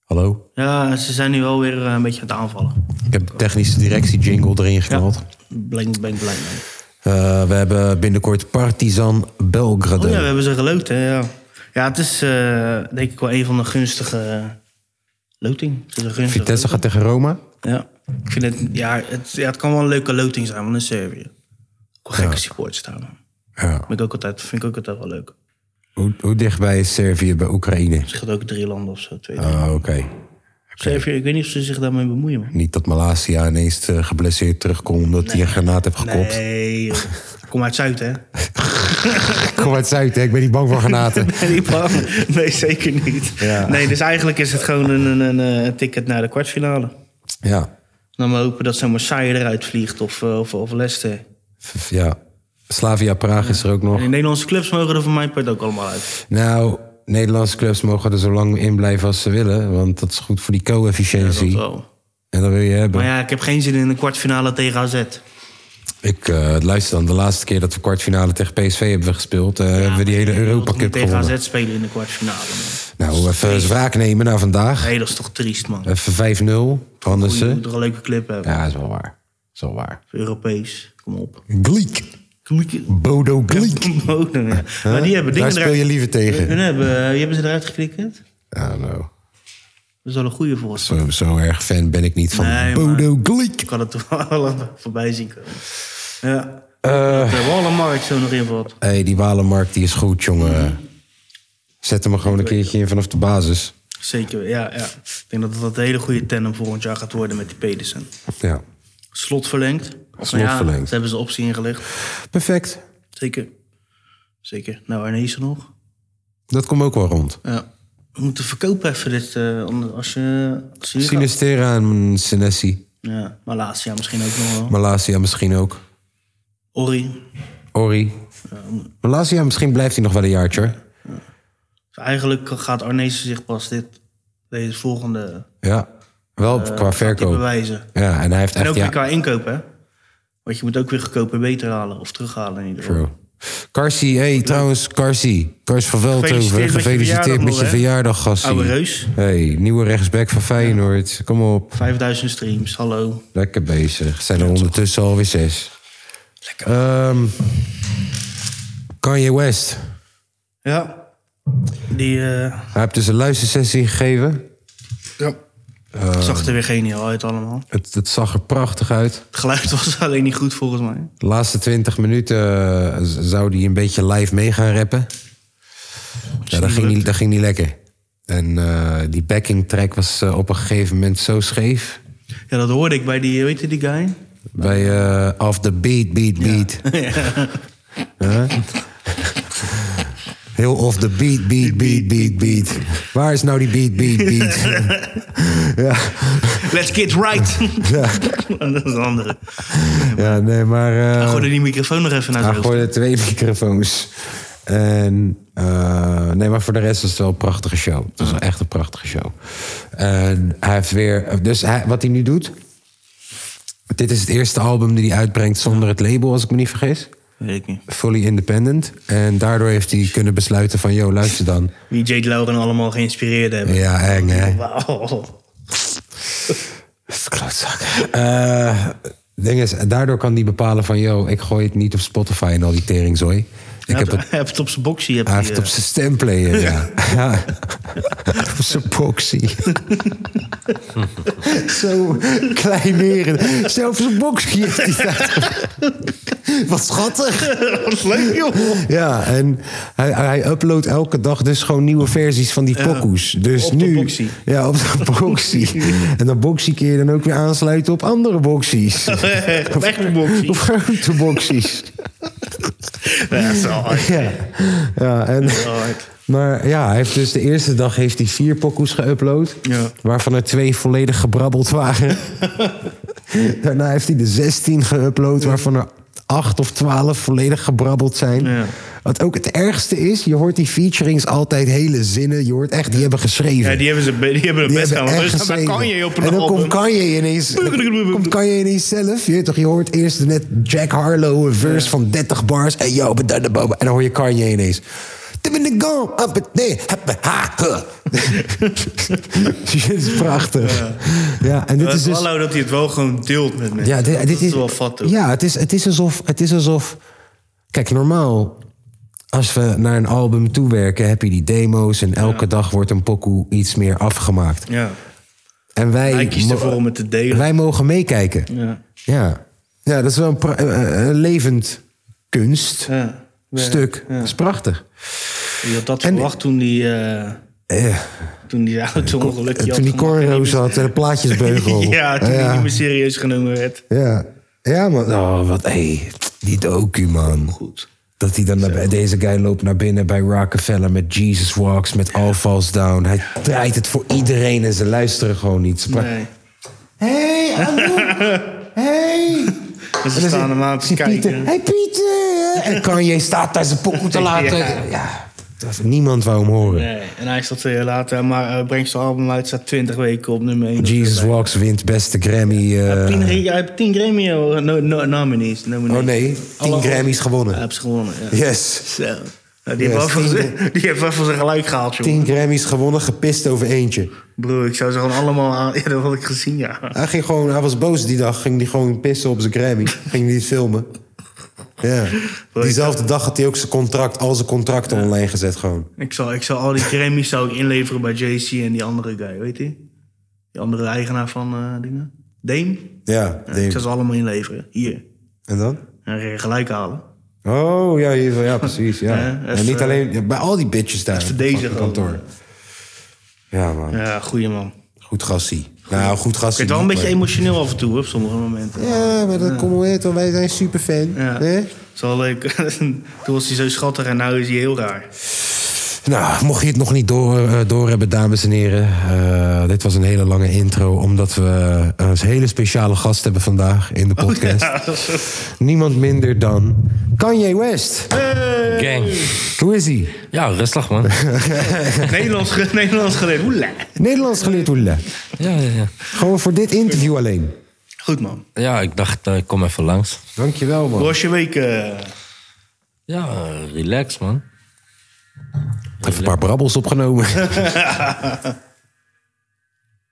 Speaker 1: Hallo?
Speaker 2: Ja, ze zijn nu wel weer eh, een beetje aan het aanvallen.
Speaker 1: Ik heb de technische directie jingle erin geknald.
Speaker 2: Blank, blank, blank.
Speaker 1: Eh, we hebben binnenkort Partizan Belgrade.
Speaker 2: Oh ja, we hebben ze geloot, hè, ja. Ja, het is eh, denk ik wel een van de gunstige eh, loting. Het is een gunstige
Speaker 1: Vitesse gaat tegen Roma.
Speaker 2: Ja, ik vind het, ja, het, ja, het kan wel een leuke loting zijn, want in Servië. Ik wil gekke supporters staan. man.
Speaker 1: Ja.
Speaker 2: Vind ik ook altijd, vind ik ook altijd wel leuk. Het
Speaker 1: Hoe, hoe dichtbij is Servië bij Oekraïne?
Speaker 2: scheelt ook drie landen of zo. Twee, drie.
Speaker 1: Ah, oké.
Speaker 2: Servië, ik weet niet of ze zich daarmee bemoeien, man.
Speaker 1: Niet dat Malasia ineens eh, geblesseerd terugkomt omdat hij een granaat heeft gekopt. [laughs]
Speaker 2: Nee, joh. kom uit Zuid, hè? [laughs]
Speaker 1: Ik [laughs] kom uit Zuid, hè? ik ben niet bang voor
Speaker 2: [laughs]
Speaker 1: granaten.
Speaker 2: Ben niet bang? Nee, zeker niet.
Speaker 1: Ja.
Speaker 2: Nee, dus eigenlijk is het gewoon een, een, een, eh, ticket naar de kwartfinale.
Speaker 1: ja,
Speaker 2: Dan maar hopen dat zomaar Saaier eruit vliegt of, eh, of, of Leicester.
Speaker 1: F- ja. Slavia Praag is er ook nog.
Speaker 2: En de Nederlandse clubs mogen er van mijn part ook allemaal uit.
Speaker 1: Nou, Nederlandse clubs mogen er zo lang in blijven als ze willen. Want dat is goed voor die
Speaker 2: Dat
Speaker 1: co-efficiëntie.
Speaker 2: wel.
Speaker 1: en dat wil je hebben.
Speaker 2: Maar ja, ik heb geen zin in een kwartfinale tegen AZ.
Speaker 1: Ik eh, luister dan, de laatste keer dat we kwartfinale tegen PSV hebben gespeeld... eh, hebben we die hele Europa
Speaker 2: Ik wil
Speaker 1: Cup
Speaker 2: niet tegen
Speaker 1: gewonnen.
Speaker 2: AZ spelen in de kwartfinale. man.
Speaker 1: Nou, even eens wraak nemen naar vandaag.
Speaker 2: Nee, dat is toch triest, man.
Speaker 1: Even 5-0,
Speaker 2: Je moet
Speaker 1: Andersen.
Speaker 2: toch een leuke club hebben.
Speaker 1: Ja, is wel waar. Is wel waar.
Speaker 2: Europees, kom op.
Speaker 1: Gleek.
Speaker 2: [laughs]
Speaker 1: Bodo Gleek.
Speaker 2: Bodem, ja. Maar die hebben dingen
Speaker 1: Daar speel je
Speaker 2: eruit-
Speaker 1: liever tegen.
Speaker 2: Hun hebben, eh, die hebben ze eruit geklikkerd.
Speaker 1: I don't know.
Speaker 2: Dat is wel een goede voor ons.
Speaker 1: nou, Zo, zo erg fan ben ik niet van
Speaker 2: Nee,
Speaker 1: Bodo Gleek.
Speaker 2: Ik kan het [laughs] toch wel voorbij zien komen. Ja.
Speaker 1: Eh.
Speaker 2: dat de Wallenmarkt zo nog in valt.
Speaker 1: Hé, hey, die Walenmarkt die is goed, jongen. Zet hem er gewoon een keertje in vanaf de basis.
Speaker 2: Zeker, ja, ja. Ik denk dat dat een hele goede tandem volgend jaar gaat worden met die Pedersen.
Speaker 1: Ja.
Speaker 2: Slot verlengd. Of
Speaker 1: Slot
Speaker 2: nou ja,
Speaker 1: verlengd.
Speaker 2: Ze hebben ze optie ingelegd.
Speaker 1: Perfect.
Speaker 2: Zeker. Zeker. Nou, Arnezen nog.
Speaker 1: Dat komt ook wel rond.
Speaker 2: Ja. We moeten verkopen even dit, eh, anders als je... Als je hier gaat.
Speaker 1: Sinistera en Senesi.
Speaker 2: Ja, maar laatst ja, misschien ook nog wel.
Speaker 1: Malasia misschien ook.
Speaker 2: Ori.
Speaker 1: Ori. Malasia, misschien blijft hij nog wel een jaartje. hoor.
Speaker 2: Dus eigenlijk gaat Arnezen zich pas dit, deze volgende
Speaker 1: Ja.
Speaker 2: Eh,
Speaker 1: Wel qua
Speaker 2: die
Speaker 1: verkoop.
Speaker 2: bewijzen.
Speaker 1: Ja, en hij heeft
Speaker 2: En ook
Speaker 1: echt...
Speaker 2: weer
Speaker 1: Ja,
Speaker 2: qua inkopen, hè? Want je moet ook weer goedkoper beter halen of terughalen in ieder geval.
Speaker 1: true. Karsi, hé, hey, trouwens, Karsi. Kars van Veldhoven,
Speaker 2: Gefeliciteerd met je
Speaker 1: gefeliciteerd
Speaker 2: verjaardag
Speaker 1: met
Speaker 2: nog,
Speaker 1: je
Speaker 2: hè?
Speaker 1: verjaardag, gastie.
Speaker 2: Oude reus.
Speaker 1: hey, nieuwe rechtsback van Feyenoord. Kom op.
Speaker 2: 5000 streams, hallo.
Speaker 1: Lekker bezig. Zijn er ondertussen alweer zes. Ehm, Kanye West.
Speaker 2: Ja. Die, eh,
Speaker 1: Ehm. Hij heeft dus een luistersessie gegeven.
Speaker 2: ja. Het zag er weer geniaal uit allemaal.
Speaker 1: Het, het zag er prachtig uit.
Speaker 2: Het geluid was [laughs] alleen niet goed volgens mij.
Speaker 1: De laatste 20 minuten eh, z- zou hij een beetje live mee gaan rappen. Ja, dat, ging niet, dat ging niet lekker. En eh, die backing track was eh, op een gegeven moment zo scheef.
Speaker 2: Ja, dat hoorde ik bij die, eh, weet je die guy?
Speaker 1: Bij eh Off the Beat, Beat,
Speaker 2: [laughs]
Speaker 1: Beat. Huh? Heel off the beat, beat, beat, beat, beat. Waar is nou die beat, beat, [laughs] beat?
Speaker 2: Let's get
Speaker 1: [laughs]
Speaker 2: right. [laughs] dat is een andere.
Speaker 1: ja, nee, maar... eh,
Speaker 2: Hij gooide die microfoon nog even naar
Speaker 1: Hij
Speaker 2: zijn hoofd.
Speaker 1: gooide twee [laughs] microfoons. En eh, nee, maar voor de rest was het wel een prachtige show. Het was
Speaker 2: Ah.
Speaker 1: wel echt een prachtige show. En hij heeft weer. Dus hij, wat hij nu doet. Dit is het eerste album die hij uitbrengt zonder het label, als ik me niet vergis.
Speaker 2: Weet ik niet.
Speaker 1: Fully independent. En daardoor heeft hij kunnen besluiten van... yo, luister dan.
Speaker 2: Wie Jade Lauren allemaal geïnspireerd hebben. Oh,
Speaker 1: Ja, eng hè.
Speaker 2: Wauw.
Speaker 1: Klootzak. Eh, ding is, daardoor kan hij bepalen van... yo, ik gooi het niet op Spotify en al die teringzooi. Ik
Speaker 2: Hij
Speaker 1: heb
Speaker 2: heeft-
Speaker 1: het
Speaker 2: hij heeft het op zijn boxie. eh.
Speaker 1: Hij heeft het op zijn stemplayer, [laughs] ja. ja. op zijn boxie. [laughs] Zo kleineren. Zelfs zijn boxie heeft hij daar. Wat schattig.
Speaker 2: Wat [laughs] leuk,
Speaker 1: [laughs]
Speaker 2: joh.
Speaker 1: Ja, en hij, hij uploadt elke dag dus gewoon nieuwe versies van die pokoes. Dus
Speaker 2: op de
Speaker 1: nu,
Speaker 2: boxie.
Speaker 1: Ja, op de [laughs] boxie. en dan boxie kun je dan ook weer aansluiten op andere [laughs] boxies.
Speaker 2: Op echte boxie.
Speaker 1: Op grote boxies.
Speaker 2: Ja, dat is wel hard.
Speaker 1: Ja, ja en...
Speaker 2: Hard.
Speaker 1: Maar ja, hij heeft dus de eerste dag heeft hij vier pokoes geüpload.
Speaker 2: Ja.
Speaker 1: Waarvan er twee volledig gebrabbeld
Speaker 2: [laughs]
Speaker 1: waren. Daarna heeft hij de 16 geüpload, waarvan er acht of twaalf volledig gebrabbeld zijn.
Speaker 2: Ja.
Speaker 1: Wat ook het ergste is, je hoort die featurings altijd hele zinnen. Je hoort echt, die hebben geschreven.
Speaker 2: Ja, die hebben, ze, be- die hebben het
Speaker 1: Die
Speaker 2: best
Speaker 1: hebben
Speaker 2: gedaan.
Speaker 1: echt
Speaker 2: Dus daar
Speaker 1: geschreven.
Speaker 2: kan je op een
Speaker 1: En dan komt
Speaker 2: album.
Speaker 1: Kanye ineens, dan komt Kanye ineens zelf. Je, weet toch, je hoort eerst net Jack Harlow een verse van 30 bars. En, yo, ba- da- da- ba- ba- en dan hoor je Kanye ineens. Tim in the gum, up it there, up it, ha, huh. [laughs] Dit is prachtig. Ja, en dit
Speaker 2: Het is
Speaker 1: is dus...
Speaker 2: wel Eh, dat hij het wel gewoon deelt met mensen.
Speaker 1: Ja, dit,
Speaker 2: dat
Speaker 1: dit
Speaker 2: is
Speaker 1: is,
Speaker 2: wel fat, hoor.
Speaker 1: ja het, is, het, is alsof, het is alsof... Kijk, normaal, als we naar een album toewerken... heb je die demo's en elke dag wordt een pokoe iets meer afgemaakt.
Speaker 2: Ja.
Speaker 1: En wij,
Speaker 2: Hij kiest
Speaker 1: mo-
Speaker 2: ervoor om het te delen.
Speaker 1: Wij mogen meekijken.
Speaker 2: Ja.
Speaker 1: Ja. Ja, dat is wel een, pra- eh, eh, een levend kunststuk.
Speaker 2: Ja.
Speaker 1: Dat is prachtig.
Speaker 2: Je had dat
Speaker 1: En-
Speaker 2: verwacht toen die... eh,
Speaker 1: Eh,
Speaker 2: toen die auto ongeluk had.
Speaker 1: toen die
Speaker 2: gemaakt.
Speaker 1: cornrows
Speaker 2: [laughs]
Speaker 1: had en de plaatjesbeugel.
Speaker 2: Ja, toen hij niet meer serieus genomen werd.
Speaker 1: Ja, ja man. Oh, wat, hey, die docu, man. Goed. Dat hij dan naar, deze guy loopt naar binnen bij Rockefeller met Jesus Walks, met All Falls Down. Hij draait het voor iedereen en ze luisteren gewoon niet. Ze pra-
Speaker 2: Nee.
Speaker 1: Hey,
Speaker 2: [laughs]
Speaker 1: Anouk. Hey.
Speaker 2: En ze staan hem aan te
Speaker 1: Dus [laughs] Pieter,
Speaker 2: kijken.
Speaker 1: hey Pieter. En Kanye staat daar zijn pokoe te laten. Ja.
Speaker 2: [laughs] Ja.
Speaker 1: dat- niemand wou hem horen.
Speaker 2: Nee, en hij staat twee jaar later, maar eh, brengt zijn album uit, staat 20 weken op nummer 1.
Speaker 1: Jesus Walks wint beste Grammy. eh,
Speaker 2: Hij heeft 10 Grammy eh, no, no, nominees, nominees.
Speaker 1: oh nee, 10
Speaker 2: Alle-
Speaker 1: Grammys
Speaker 2: Hij
Speaker 1: gewonnen.
Speaker 2: heeft ze gewonnen, ja.
Speaker 1: Yes.
Speaker 2: Zo. Nou, die, heeft
Speaker 1: Yes,
Speaker 2: wel van
Speaker 1: tien-
Speaker 2: zijn, die heeft wel van zijn gelijk gehaald, joh.
Speaker 1: 10 Grammys gewonnen, gepist over eentje.
Speaker 2: Broer, ik zou ze gewoon allemaal aan... [laughs] Ja, dat had ik gezien, ja.
Speaker 1: Hij, ging gewoon, hij was boos die dag, ging hij gewoon pissen op zijn Grammy. ging hij filmen.
Speaker 2: [laughs]
Speaker 1: Ja. Diezelfde dag had hij ook zijn contract, al zijn contracten online gezet gewoon.
Speaker 2: Ik zou, ik zou al die Grammys zou ik inleveren bij JC en die andere guy, weet je? Die andere eigenaar van eh, dingen. Dame?
Speaker 1: Ja,
Speaker 2: Ja,
Speaker 1: Dave.
Speaker 2: Ik zou ze allemaal inleveren. Hier.
Speaker 1: En dan?
Speaker 2: En gelijk halen.
Speaker 1: Oh, ja, hier- ja precies.
Speaker 2: [laughs]
Speaker 1: Ja.
Speaker 2: Ja,
Speaker 1: en
Speaker 2: even- eh,
Speaker 1: niet alleen, ja, bij al die bitches daar.
Speaker 2: even
Speaker 1: op het
Speaker 2: deze
Speaker 1: fucking
Speaker 2: gewoon. eh.
Speaker 1: kantoor. Ja man,
Speaker 2: Ja, goeie man.
Speaker 1: goed gassie. Nou, goed
Speaker 2: Ik
Speaker 1: gassie.
Speaker 2: werd wel een
Speaker 1: niet,
Speaker 2: beetje
Speaker 1: maar-
Speaker 2: emotioneel af en toe, hoor, op sommige momenten.
Speaker 1: Ja, maar dat komt wel uit, want wij zijn superfan.
Speaker 2: Ja.
Speaker 1: Hè?
Speaker 2: Het is wel leuk. [laughs] Toen was hij zo schattig en nu is hij heel raar.
Speaker 1: Nou, mocht je het nog niet door, eh, door hebben, dames en heren. eh, dit was een hele lange intro, omdat we eh, een hele speciale gast hebben vandaag
Speaker 2: Oh,
Speaker 1: in de
Speaker 2: [laughs]
Speaker 1: podcast. Niemand minder dan Kanye West.
Speaker 4: Gang.
Speaker 1: Hoe is hij?
Speaker 4: Ja, rustig [laughs] man.
Speaker 2: Nederlands, ge- Nederlands geleden. Oela.
Speaker 1: Nederlands geleerd hoedelen.
Speaker 4: Ja, ja, ja.
Speaker 1: Gewoon voor dit interview alleen.
Speaker 2: Goed, man.
Speaker 4: ja ik dacht, eh, ik kom even langs.
Speaker 1: Dankjewel, man.
Speaker 2: Hoe was je week? eh?
Speaker 4: Ja, eh, relax man.
Speaker 1: Even een paar brabbels [laughs] opgenomen.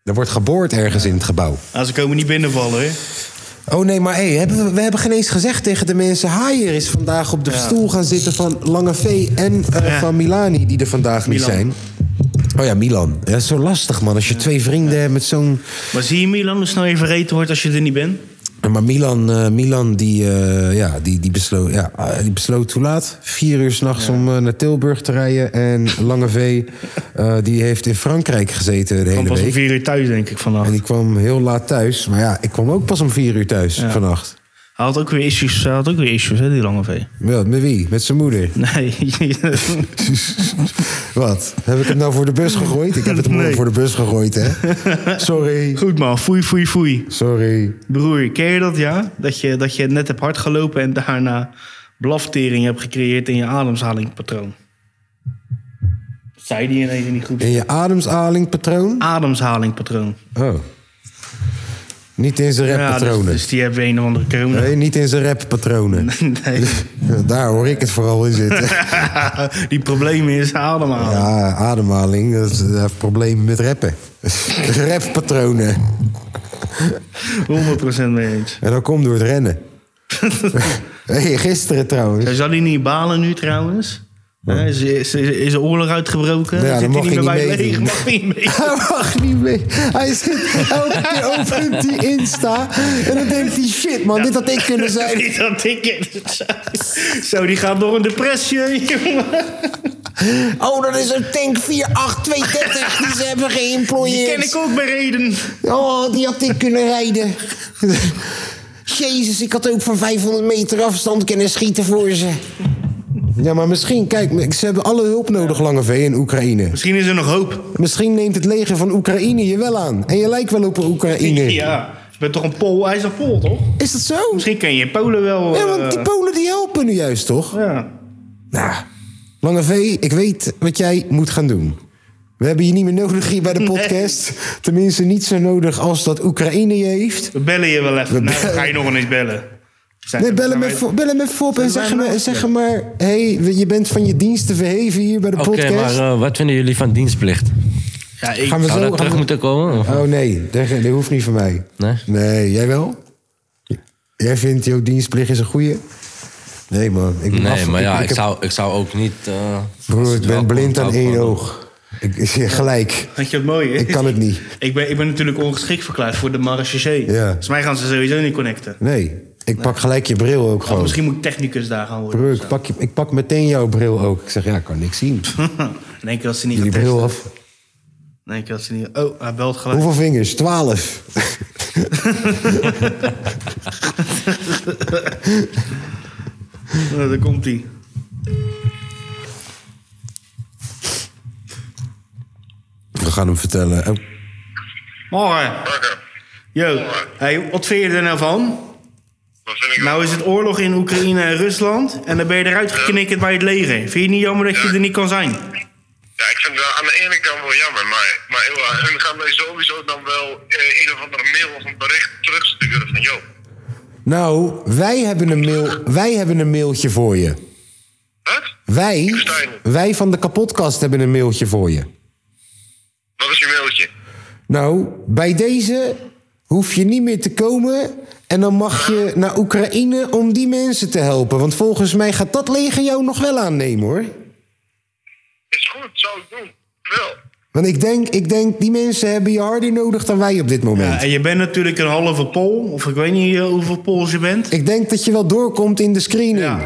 Speaker 1: er wordt geboord ergens in het gebouw.
Speaker 2: Ah, ze komen niet binnenvallen, hè?
Speaker 1: Oh nee, maar hey, hebben we, we hebben geen eens gezegd tegen de mensen... Haier is vandaag op de stoel gaan zitten van Lange V en eh,
Speaker 2: Ja.
Speaker 1: van Milani... die er vandaag niet
Speaker 2: Milan.
Speaker 1: zijn. Oh ja, Milan. Dat is zo lastig, man. Als je twee vrienden hebt met zo'n...
Speaker 2: Maar zie je Milan hoe snel je vergeten wordt als je er niet bent?
Speaker 1: Maar Milan, eh, Milan die, eh, ja, die, die, besloot, ja, eh, die besloot hoe laat? Vier uur s'nachts nachts om eh, naar Tilburg te rijden. En Lange V, eh, die heeft in Frankrijk gezeten de
Speaker 2: Dan
Speaker 1: hele
Speaker 2: pas om
Speaker 1: week.
Speaker 2: vier uur thuis, denk ik,
Speaker 1: En
Speaker 2: vannacht.
Speaker 1: die kwam heel laat thuis. Maar ja, ik kwam ook pas om vier uur thuis vannacht.
Speaker 2: Hij had ook weer issues, hij had ook weer issues hè, die lange vee.
Speaker 1: Wel, met wie? Met zijn moeder.
Speaker 2: [laughs] Nee.
Speaker 1: Wat? Heb ik hem nou voor de bus gegooid? Ik heb het hem
Speaker 2: Nee.
Speaker 1: voor de bus gegooid, hè? Sorry.
Speaker 2: Goed man, foei, foei, foei.
Speaker 1: Sorry.
Speaker 2: Broer, ken je dat, ja? Dat je, dat je net hebt hard gelopen en daarna blaftering hebt gecreëerd in je ademhalingpatroon. Dat zei die ineens niet goed.
Speaker 1: In je ademsalingpatroon?
Speaker 2: Ademhalingpatroon.
Speaker 1: Oh. Niet in zijn
Speaker 2: Ja, dus,
Speaker 1: rappatronen.
Speaker 2: dus die hebben een of andere corona.
Speaker 1: Nee, niet in zijn rappatronen.
Speaker 2: [laughs] Nee.
Speaker 1: Daar hoor ik het vooral in zitten.
Speaker 2: die problemen is ademhalen.
Speaker 1: Ja, ademhaling, dat is een probleem met rappen. Rappatronen.
Speaker 2: 100% mee eens.
Speaker 1: En dat komt door het
Speaker 2: [laughs]
Speaker 1: rennen. hey, gisteren trouwens.
Speaker 2: Zal hij niet balen nu trouwens? Hè, Is, is, is, is er oorlog uitgebroken?
Speaker 1: Ja, dan
Speaker 2: Zit
Speaker 1: mag
Speaker 2: hij
Speaker 1: je
Speaker 2: niet meer
Speaker 1: niet
Speaker 2: bij het leger?
Speaker 1: meedoen.
Speaker 2: Mag hij niet mee?
Speaker 1: [laughs] Hij mag niet mee. Hij schiet elke keer opent die Insta. En dan denkt hij, shit man, dit had ik kunnen
Speaker 2: [laughs]
Speaker 1: zijn.
Speaker 2: Niet dat ik het- Zo, die gaat door een depressie, jongen.
Speaker 1: Oh, dat is een tank 48230 die ze hebben
Speaker 2: Die
Speaker 1: geïmployeerd.
Speaker 2: ken ik ook bij reden.
Speaker 1: Oh, die had ik kunnen rijden. Jezus, ik had ook van 500 meter afstand kunnen schieten voor ze. Ja, maar misschien, kijk, ze hebben alle hulp nodig, Lange V, in Oekraïne.
Speaker 2: Misschien is er nog hoop.
Speaker 1: Misschien neemt het leger van Oekraïne je wel aan. En je lijkt wel op een Oekraïner.
Speaker 2: Ja, je bent toch een Pool? Hij is een Pool, toch?
Speaker 1: Is dat zo?
Speaker 2: Misschien ken je in Polen wel...
Speaker 1: Ja, want die
Speaker 2: eh,
Speaker 1: Polen die helpen nu juist, toch?
Speaker 2: ja.
Speaker 1: Nou, Lange V, ik weet wat jij moet gaan doen. We hebben je niet meer nodig hier bij de podcast. Tenminste, niet zo nodig als dat Oekraïne je heeft.
Speaker 2: We bellen je wel even. Nou,
Speaker 1: bellen-
Speaker 2: dan ga je nog eens bellen. Zijn- nou,
Speaker 1: Nee, bellen
Speaker 2: zijn
Speaker 1: met,
Speaker 2: wij-
Speaker 1: Fo- bellen met Fop en
Speaker 2: Zijn
Speaker 1: zeggen,
Speaker 2: wij
Speaker 1: maar-
Speaker 2: nou?
Speaker 1: zeggen maar... hé, hey, je bent van je diensten verheven hier bij de
Speaker 4: Oké,
Speaker 1: podcast.
Speaker 4: maar eh, wat vinden jullie van dienstplicht?
Speaker 2: Ja, ik...
Speaker 1: gaan we
Speaker 4: Zou
Speaker 1: zo...
Speaker 4: dat terug
Speaker 1: gaan we-
Speaker 4: moeten komen? of-
Speaker 1: Oh nee, dat, dat hoeft niet van mij.
Speaker 4: eh, Nee?
Speaker 1: Nee, jij wel? Jij vindt jouw dienstplicht is een goeie? Nee man, ik ben
Speaker 4: Nee,
Speaker 1: af-
Speaker 4: maar ja, ik
Speaker 1: heb-
Speaker 4: zou, ik zou ook niet... eh,
Speaker 1: Broer, ik ben
Speaker 4: welkom,
Speaker 1: blind aan
Speaker 4: welkom.
Speaker 1: één oog. Ik, gelijk.
Speaker 2: Weet je wat mooi is?
Speaker 1: Ik kan het niet.
Speaker 2: Ik ben, ik ben natuurlijk ongeschikt verklaard voor de marechaussee.
Speaker 1: Ja.
Speaker 2: Volgens mij gaan ze sowieso niet connecten.
Speaker 1: Nee, ik pak gelijk je bril ook
Speaker 2: Of
Speaker 1: gewoon.
Speaker 2: misschien moet ik technicus daar gaan worden.
Speaker 1: Broer,
Speaker 2: of zo.
Speaker 1: ik pak, je, ik pak meteen jouw bril ook. Ik zeg, ja, ik kan niks zien.
Speaker 2: In één keer als ze niet
Speaker 1: Jullie
Speaker 2: gaan testen.
Speaker 1: bril af.
Speaker 2: In één keer als ze niet... Oh, hij belt gelijk.
Speaker 1: Hoeveel vingers? Twaalf.
Speaker 2: Nou, daar komt hij.
Speaker 1: We gaan hem vertellen. Oh,
Speaker 2: Morgen. Yo, hey, wat vind je er nou van?
Speaker 7: Wat vind ik
Speaker 2: Nou is het oorlog in Oekraïne en Rusland en dan ben je eruit geknikkerd bij het leger. Vind je het niet jammer dat je er niet kan zijn?
Speaker 7: Ja, ik vind het wel aan de ene kant wel jammer, maar, maar heel- hun gaan mij sowieso dan wel eh, een of andere mail of een bericht terugsturen van joh.
Speaker 1: Nou, wij hebben, een mail, wij hebben een mailtje voor je.
Speaker 7: Wat?
Speaker 1: Wij, wij van de kapotkast hebben een mailtje voor je.
Speaker 7: Wat is je mailtje?
Speaker 1: Nou, bij deze hoef je niet meer te komen. En dan mag je naar Oekraïne om die mensen te helpen. Want volgens mij gaat dat leger jou nog wel aannemen hoor.
Speaker 7: Is goed, zou ik doen. Wel.
Speaker 1: Want ik denk, ik denk die mensen hebben je harder nodig dan wij op dit moment.
Speaker 2: Ja, en je bent natuurlijk een halve Pool, of ik weet niet eh, hoeveel Pools je bent.
Speaker 1: Ik denk dat je wel doorkomt in de screening.
Speaker 2: Ja.
Speaker 7: Ja,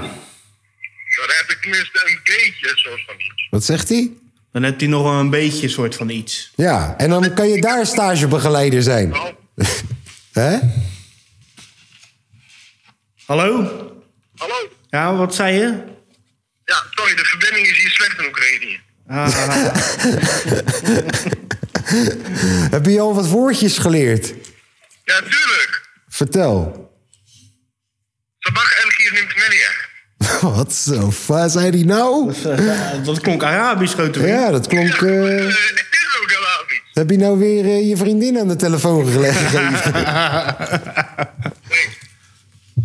Speaker 7: dan heb ik tenminste een beetje soort van iets.
Speaker 1: Wat zegt hij?
Speaker 2: Dan hebt hij nog wel een beetje soort van iets.
Speaker 1: Ja, en dan kan je daar stagebegeleider zijn.
Speaker 7: Nou,
Speaker 1: hè?
Speaker 2: Hallo?
Speaker 7: hallo?
Speaker 2: Ja, wat zei je?
Speaker 7: Ja, sorry, de verbinding is hier slecht in Oekraïne.
Speaker 2: Ah,
Speaker 1: Heb je al wat woordjes geleerd?
Speaker 7: Ja, tuurlijk.
Speaker 1: Vertel. [laughs]
Speaker 7: Sabach Elgir Nimtmelia.
Speaker 1: Wat zo, fa- zei die nou?
Speaker 2: Ja, ah. [laughs] dat klonk Arabisch, grote vriend.
Speaker 1: Ja, dat klonk... eh,
Speaker 7: Eh, Het is ook helemaal niet.
Speaker 1: Heb je nou weer eh, je vriendin aan de telefoon gelegd?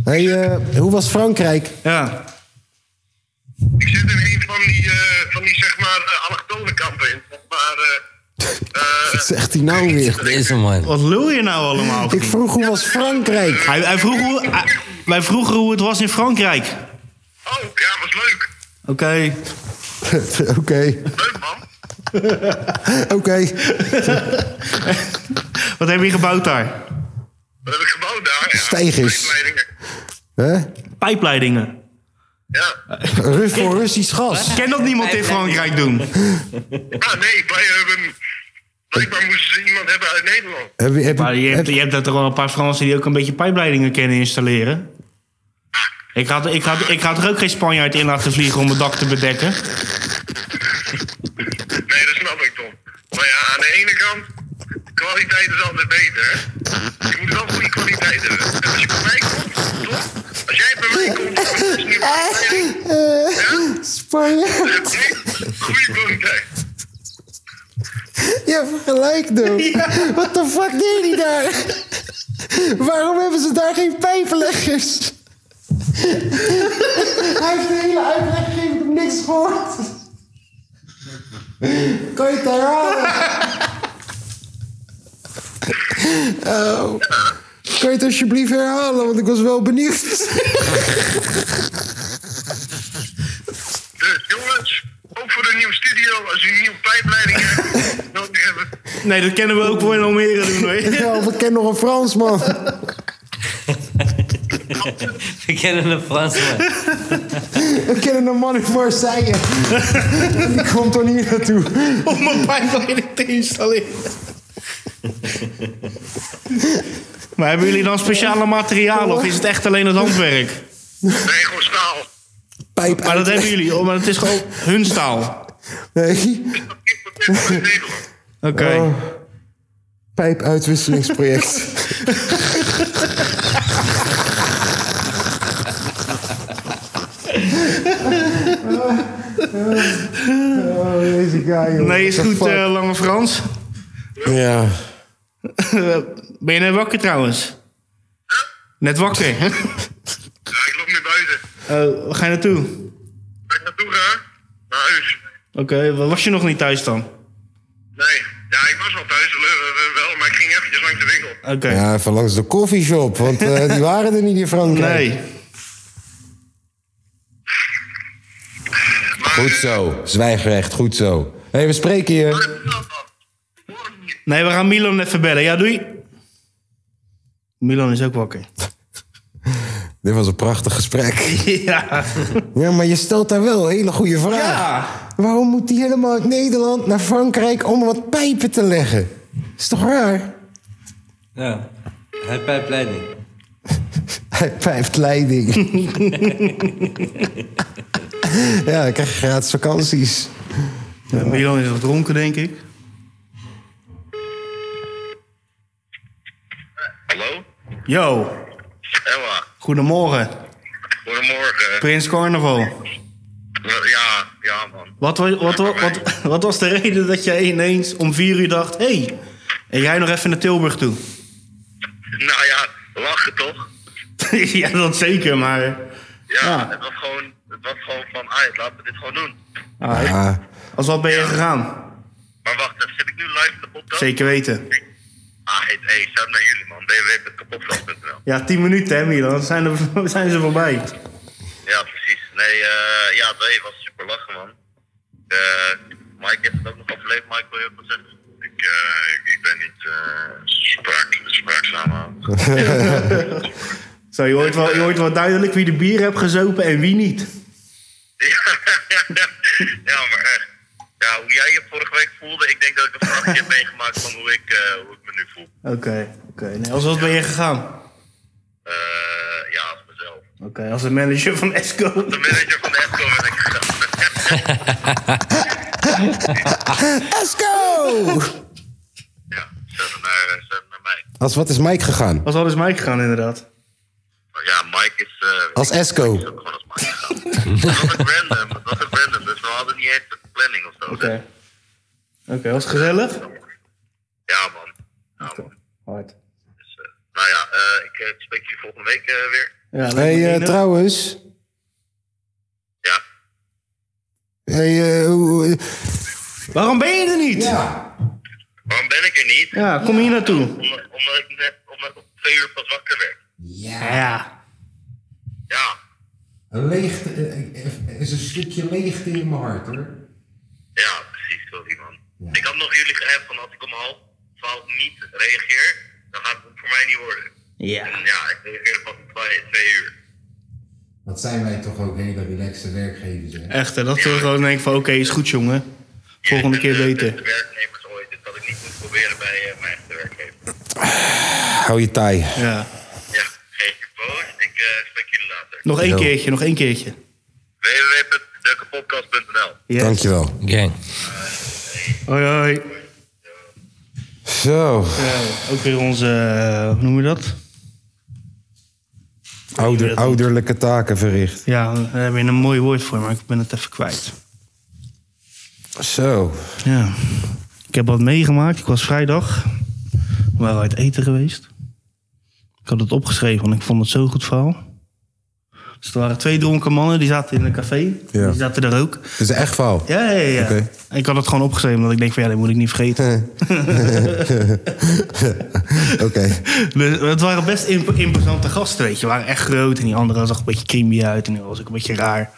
Speaker 1: hey, eh, hoe was Frankrijk?
Speaker 2: Ja.
Speaker 7: Ik zit in een van die, eh, van die zeg maar, eh, allochtone kampen in. Zeg maar, eh,
Speaker 1: [laughs]
Speaker 7: eh,
Speaker 1: Wat zegt hij
Speaker 8: [laughs]
Speaker 1: nou weer?
Speaker 8: Oh,
Speaker 4: Deze man.
Speaker 2: Wat lul je nou allemaal?
Speaker 1: Ik vroeg hoe was Frankrijk? [laughs]
Speaker 2: Hij, hij vroeg hoe, hij- wij vroegen hoe het was in Frankrijk.
Speaker 7: oh, ja, was leuk.
Speaker 2: Oké.
Speaker 1: Oké.
Speaker 7: Leuk, man.
Speaker 1: Oké.
Speaker 2: Wat heb je gebouwd daar?
Speaker 8: Wat heb ik gebouwd daar? Ja,
Speaker 1: Steigers.
Speaker 8: Pijpleidingen.
Speaker 1: Hè?
Speaker 2: Pijpleidingen.
Speaker 8: Ja.
Speaker 1: Ruf voor Russisch gas.
Speaker 2: Ken dat niemand in Frankrijk doen?
Speaker 8: Ah, nee, wij hebben... Blijkbaar moesten ze iemand hebben uit Nederland.
Speaker 1: Heb je, heb je-
Speaker 2: Maar je hebt,
Speaker 1: heb-
Speaker 2: je hebt daar toch wel een paar Fransen die ook een beetje pijpleidingen kennen installeren? Ik had, ik, had, ik had er ook geen Spanjaard in laten vliegen om het dak te bedekken.
Speaker 8: Nee, dat snap ik toch. Maar ja, aan de ene kant... Kwaliteit is altijd beter, hè? Je moet wel goede kwaliteit hebben. En als je bij mij komt, toch? Als jij bij mij komt, dan is het niet
Speaker 1: [laughs] Spanje.
Speaker 8: Goede kwaliteit.
Speaker 1: Je hebt gelijk, dude. Wat de fuck deed hij daar? Waarom hebben ze daar geen pijpenleggers? hij heeft de hele uitleg gegeven, ik heb niks gehoord. Kan je het herhalen? Oh. Kan je het alsjeblieft herhalen, want ik was wel benieuwd.
Speaker 8: Dus jongens, ook voor de nieuwe studio, als u een nieuwe pijpleiding
Speaker 2: [laughs]
Speaker 8: hebt, nodig hebben.
Speaker 2: Nee, dat kennen we ook voor in Almere doen hoor.
Speaker 1: Ja, of ik ken nog een Fransman.
Speaker 4: We kennen een Fransman.
Speaker 1: Ik ken een man uit Marseille. Die komt toch niet naartoe.
Speaker 2: [laughs] Om een pijpleiding te installeren. Maar hebben jullie dan speciale materialen of is het echt alleen het handwerk?
Speaker 8: Nee, gewoon staal.
Speaker 1: Pijp
Speaker 2: Maar dat hebben jullie, oh, maar het is gewoon hun staal.
Speaker 1: Nee.
Speaker 8: Dat is wat dit vanuit Nederland.
Speaker 2: Oké.
Speaker 1: Oh.
Speaker 2: [laughs]
Speaker 1: Pijpuitwisselingsproject. oh, deze guy, joh.
Speaker 2: Nee, is
Speaker 1: What the
Speaker 2: goed,
Speaker 1: fuck?
Speaker 2: eh, Lange Frans. [laughs]
Speaker 1: ja.
Speaker 2: Ben je net wakker trouwens? Net wakker.
Speaker 1: [laughs]
Speaker 8: Ja, ik loop nu buiten.
Speaker 2: Oh, waar ga je naartoe?
Speaker 8: Waar ik naartoe ga? Naar huis.
Speaker 2: Oké, was je nog niet thuis dan?
Speaker 8: Nee. Ja, ik was wel thuis, eh, wel, maar ik ging eventjes langs de winkel.
Speaker 2: Oké.
Speaker 1: Ja, even langs de koffieshop, want eh, die waren er niet in Frankrijk.
Speaker 2: Nee.
Speaker 8: Maar,
Speaker 1: Goed zo, zwijgrecht, goed zo. Hé, hey, we spreken je.
Speaker 2: Nee, we gaan Milan even bellen. Ja, doei. Milan is ook wakker.
Speaker 1: Dit was een prachtig gesprek.
Speaker 2: ja.
Speaker 1: [laughs] Ja, maar je stelt daar wel een hele goede vraag.
Speaker 2: Ja.
Speaker 1: Waarom moet die helemaal uit Nederland naar Frankrijk om wat pijpen te leggen? Is toch raar?
Speaker 4: Ja, hij pijpleiding.
Speaker 1: [laughs] Hij pijpt leiding. [laughs] ja, dan krijg je gratis vakanties.
Speaker 2: Milan is nog dronken, denk ik.
Speaker 8: Hallo?
Speaker 2: Yo,
Speaker 8: Ella,
Speaker 2: goedemorgen.
Speaker 8: goedemorgen.
Speaker 2: Prins Carnaval.
Speaker 8: Ja, ja man.
Speaker 2: Wat, wa- wat, wa- wat, wat, [laughs] was de reden dat jij ineens om vier uur dacht... hé, hey, ik rij nog even naar Tilburg toe?
Speaker 8: Nou ja, lachen toch?
Speaker 2: [laughs] ja, dat zeker, maar...
Speaker 8: Ja,
Speaker 2: Ja.
Speaker 8: Het, was gewoon, het was gewoon van, ah, laten we dit gewoon doen.
Speaker 2: ah,
Speaker 1: Ja,
Speaker 2: als wat ben je gegaan?
Speaker 8: Maar wacht, zit ik nu live in de podcast?
Speaker 2: Zeker weten.
Speaker 8: Ah, hey, hey, shout naar jullie man, www.kapotvlag.nl.
Speaker 2: Ja, tien minuten, hè, Milan? Dan zijn, er, [laughs] zijn ze voorbij.
Speaker 8: Ja, precies. Nee, eh, ja, nee, was super lachen, man. Eh, Mike heeft het ook nog overleefd, Mike, wil je ook wat zeggen? Ik, eh, ik, ik ben niet eh spraak, spraakzaam aan.
Speaker 2: Zo, je hoort, wel, je hoort wel duidelijk wie de bier hebt gezopen en wie niet.
Speaker 8: [laughs] ja, maar echt. Ja, hoe jij je vorige week voelde, ik denk dat ik een grapje heb meegemaakt van hoe ik, eh, hoe ik me nu voel.
Speaker 2: Oké, oké. Nee, als wat ben je gegaan?
Speaker 8: Eh, ja, als mezelf.
Speaker 2: Oké, als de manager van Esco.
Speaker 8: De manager van de Esco ben ik gegaan.
Speaker 1: Let's go!
Speaker 8: [laughs] ja, zet naar, eh, zet naar mij.
Speaker 1: Als wat is Mike gegaan?
Speaker 2: Als alles mij gegaan, inderdaad.
Speaker 8: Maar ja, Mike is... eh,
Speaker 1: Als
Speaker 8: is
Speaker 1: Esco.
Speaker 8: ook gewoon als Mike gegaan. dat was ook random, dat was ook random. Dus we hadden niet echt een planning of zo.
Speaker 2: Oké. Oké, was het gezellig?
Speaker 8: Ja, man. Ja, man.
Speaker 2: Hard.
Speaker 8: Dus, eh, nou ja, eh, ik eh, spreek jullie volgende week eh, weer.
Speaker 2: Ja, lijkt me
Speaker 1: Hé, hey,
Speaker 2: enig.
Speaker 1: trouwens.
Speaker 8: Ja.
Speaker 1: Hey, eh, hoe-
Speaker 2: Waarom ben je er niet? Ja,
Speaker 8: Waarom ben ik er niet?
Speaker 2: kom hier naartoe.
Speaker 8: Omdat, omdat ik net omdat ik om twee uur pas wakker werd.
Speaker 2: Ja, ja.
Speaker 8: Ja.
Speaker 1: Een eh, leegte, is een stukje leegte in mijn hart, hoor.
Speaker 8: Ja, precies. Sorry, man.
Speaker 7: bepaald niet reageer, dan gaat het voor mij niet worden.
Speaker 2: Ja.
Speaker 7: En ja, ik reageerde pas om twee, twee uur.
Speaker 1: Wat zijn wij toch ook hele relaxe werkgevers, hè?
Speaker 2: Echt, hè, dat we gewoon denken van oké, is goed jongen. Volgende keer
Speaker 7: beter.
Speaker 2: beter.
Speaker 7: De werknemers ooit,
Speaker 8: dus
Speaker 7: dit had ik niet moeten proberen bij eh, mijn echte werkgever.
Speaker 1: Hou je taai.
Speaker 2: Ja.
Speaker 7: Ja, geen boos. Ik eh spreek jullie later.
Speaker 2: Nog één
Speaker 1: Yo.
Speaker 2: keertje, nog één keertje.
Speaker 7: www.dekkenpodcast.nl
Speaker 2: Yes.
Speaker 1: Dankjewel.
Speaker 4: Gang.
Speaker 2: Hoi hoi.
Speaker 1: Zo,
Speaker 2: Ja, ook weer onze, eh, hoe noem je dat?
Speaker 1: ouder, ouderlijke taken verricht.
Speaker 2: Ja, daar heb je een mooi woord voor, maar ik ben het even kwijt.
Speaker 1: Zo,
Speaker 2: Ja. Ik heb wat meegemaakt. Ik was vrijdag. We waren uit eten geweest. Ik had het opgeschreven, want ik vond het zo'n goed verhaal. Dus er waren twee dronken mannen, die zaten in een café.
Speaker 1: Ja.
Speaker 2: Die zaten er ook.
Speaker 1: dit is echt [laughs] val.
Speaker 2: Ja, ja, ja. ja.
Speaker 1: Oké.
Speaker 2: Ik had het gewoon opgeschreven, omdat ik denk van ja, dat moet ik niet vergeten.
Speaker 1: Oké,
Speaker 2: [laughs] Dus het waren best imp- imposante gasten, weet je. Ze waren echt groot en die andere zag een beetje creamy uit en die was ook een beetje raar.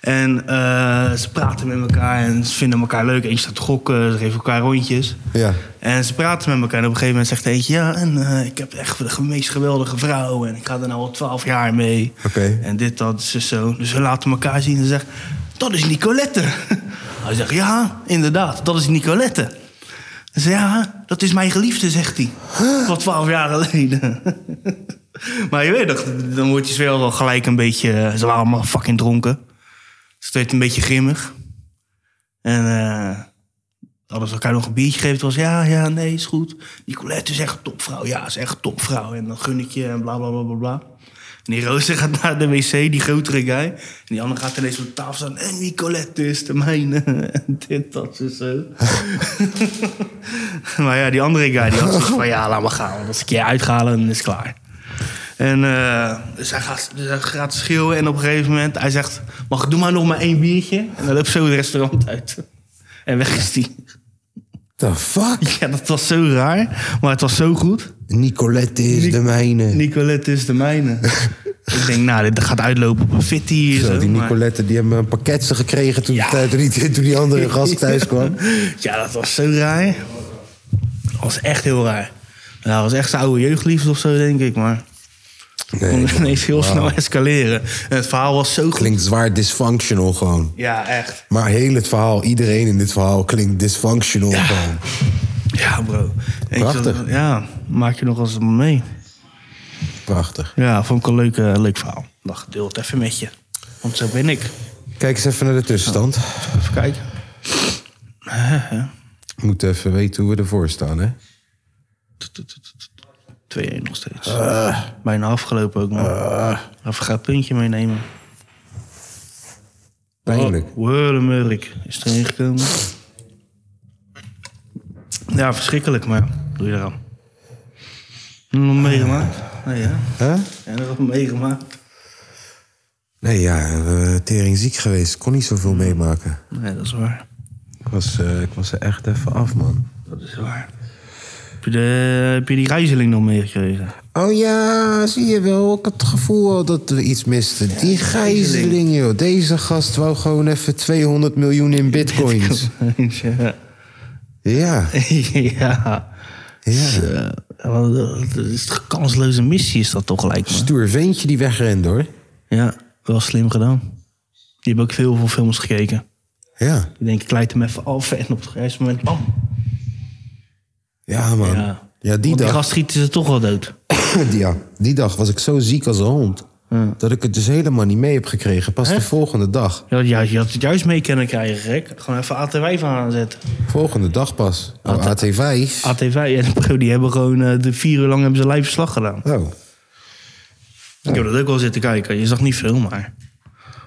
Speaker 2: En eh, ze praten met elkaar en ze vinden elkaar leuk. Eentje staat te gokken, ze geven elkaar rondjes.
Speaker 1: ja.
Speaker 2: En ze praten met elkaar en op een gegeven moment zegt eentje... ja, en eh, ik heb echt de meest geweldige vrouw en ik ga er nou al twaalf jaar mee.
Speaker 1: Oké.
Speaker 2: En dit, dat, zus, zo. Dus ze laten elkaar zien en ze zegt, dat is Nicolette. [laughs] Hij zegt, ja, inderdaad, dat is Nicolette. Ze zegt, ja, dat is mijn geliefde, zegt hij. Van twaalf jaar geleden. [laughs] maar je weet toch, dan wordt je sfeer al gelijk een beetje... eh, Ze waren allemaal fucking dronken. Dus het werd een beetje grimmig. En... eh, hadden ze elkaar nog een biertje gegeven. Het was ja, ja, nee, is goed. Nicolette is echt een topvrouw. Ja, is echt een topvrouw. En dan gun ik je en bla, bla, bla, bla, bla. En die Roze gaat naar de wc, die grotere guy. En die andere gaat ineens op de tafel staan. En Nicolette is de mijne. [laughs] En dit, dat, en zo. [laughs] maar ja, die andere guy die had zoiets van... Ja, laat maar gaan. Want als ik je uithalen, dan is het klaar. En eh, dus hij gaat, dus hij gaat schreeuwen. En op een gegeven moment, hij zegt... Mag, doe maar nog maar één biertje. En dan loopt zo het restaurant uit. En weg is die. [laughs]
Speaker 1: The fuck?
Speaker 2: Ja, dat was zo raar, maar het was zo goed.
Speaker 1: Nicolette is
Speaker 2: Nic-
Speaker 1: de mijne.
Speaker 2: Nicolette is de mijne. [laughs] ik denk, nou, dit gaat uitlopen op een fitty hier.
Speaker 1: Zo,
Speaker 2: Zo,
Speaker 1: die
Speaker 2: maar-
Speaker 1: Nicolette die hebben een pakketje gekregen toen,
Speaker 2: Ja.
Speaker 1: toen, die, toen die andere gast thuis kwam.
Speaker 2: Ja, dat was zo raar. Dat was echt heel raar. Nou, dat was echt zijn oude jeugdliefde of zo, denk ik. Maar het
Speaker 1: [laughs] Nee,
Speaker 2: kon ineens heel snel escaleren. En het verhaal was zo goed.
Speaker 1: klinkt zwaar dysfunctional gewoon.
Speaker 2: Ja, echt.
Speaker 1: Maar heel het verhaal, iedereen in dit verhaal klinkt dysfunctional gewoon.
Speaker 2: Ja, bro. Weet je wat-
Speaker 1: Prachtig.
Speaker 2: ja, maak je nog eens mee.
Speaker 1: Prachtig.
Speaker 2: Ja, vond ik een leuk, eh, leuk verhaal. Dacht, deel het even met je. Want zo ben ik.
Speaker 1: Kijk eens even naar de tussenstand.
Speaker 2: Even kijken.
Speaker 1: We moeten even weten hoe we ervoor staan,
Speaker 2: Oh.
Speaker 1: hè?
Speaker 2: 2-1 nog steeds. Bijna afgelopen ook, man. Even ga een puntje meenemen.
Speaker 1: Pijnlijk.
Speaker 2: Wurlemurk is erin gekomen. Ja, verschrikkelijk, maar doe je eraan. Nog meegemaakt? Nee, hè?
Speaker 1: Hè?
Speaker 2: Ja, nog meegemaakt?
Speaker 1: Nee, ja, eh, tering ziek geweest. Ik kon niet zoveel meemaken.
Speaker 2: Nee, dat is waar.
Speaker 1: Hmm. Ik was, eh, ik was er echt even af, man.
Speaker 2: Dat is waar. Heb je, de, heb je die reizeling nog meegekregen?
Speaker 1: Oh ja, zie je wel. Ik had het gevoel al dat we iets misten. Die gijzeling, joh. Deze gast wou gewoon even 200 miljoen in bitcoins.
Speaker 2: [laughs] ja.
Speaker 1: Ja,
Speaker 2: ja.
Speaker 1: ja.
Speaker 2: Eh, want, eh, Dat is een kansloze missie, is dat toch gelijk, man?
Speaker 1: Stoer ventje die wegrende, hoor.
Speaker 2: Ja, wel slim gedaan. Die heb ook veel veel films gekeken.
Speaker 1: Ja,
Speaker 2: Ik denk, ik leid hem even af en op het juiste moment, bam.
Speaker 1: ja, man. Ja,
Speaker 2: Ja.
Speaker 1: die
Speaker 2: Want die
Speaker 1: dag.
Speaker 2: gast schieten ze toch wel dood.
Speaker 1: [laughs] Ja, die dag was ik zo ziek als een hond. Dat ik het dus helemaal niet mee heb gekregen. Pas de volgende dag.
Speaker 2: Ja, ja, je had het juist mee kunnen krijgen, gek. Gewoon even AT5 aanzetten.
Speaker 1: Volgende dag pas. Oh, AT5.
Speaker 2: AT5 en Pro, die hebben gewoon eh, de vier uur lang hebben ze live verslag gedaan.
Speaker 1: Oh,
Speaker 2: Ik heb dat ook wel zitten kijken. Je zag niet veel, maar...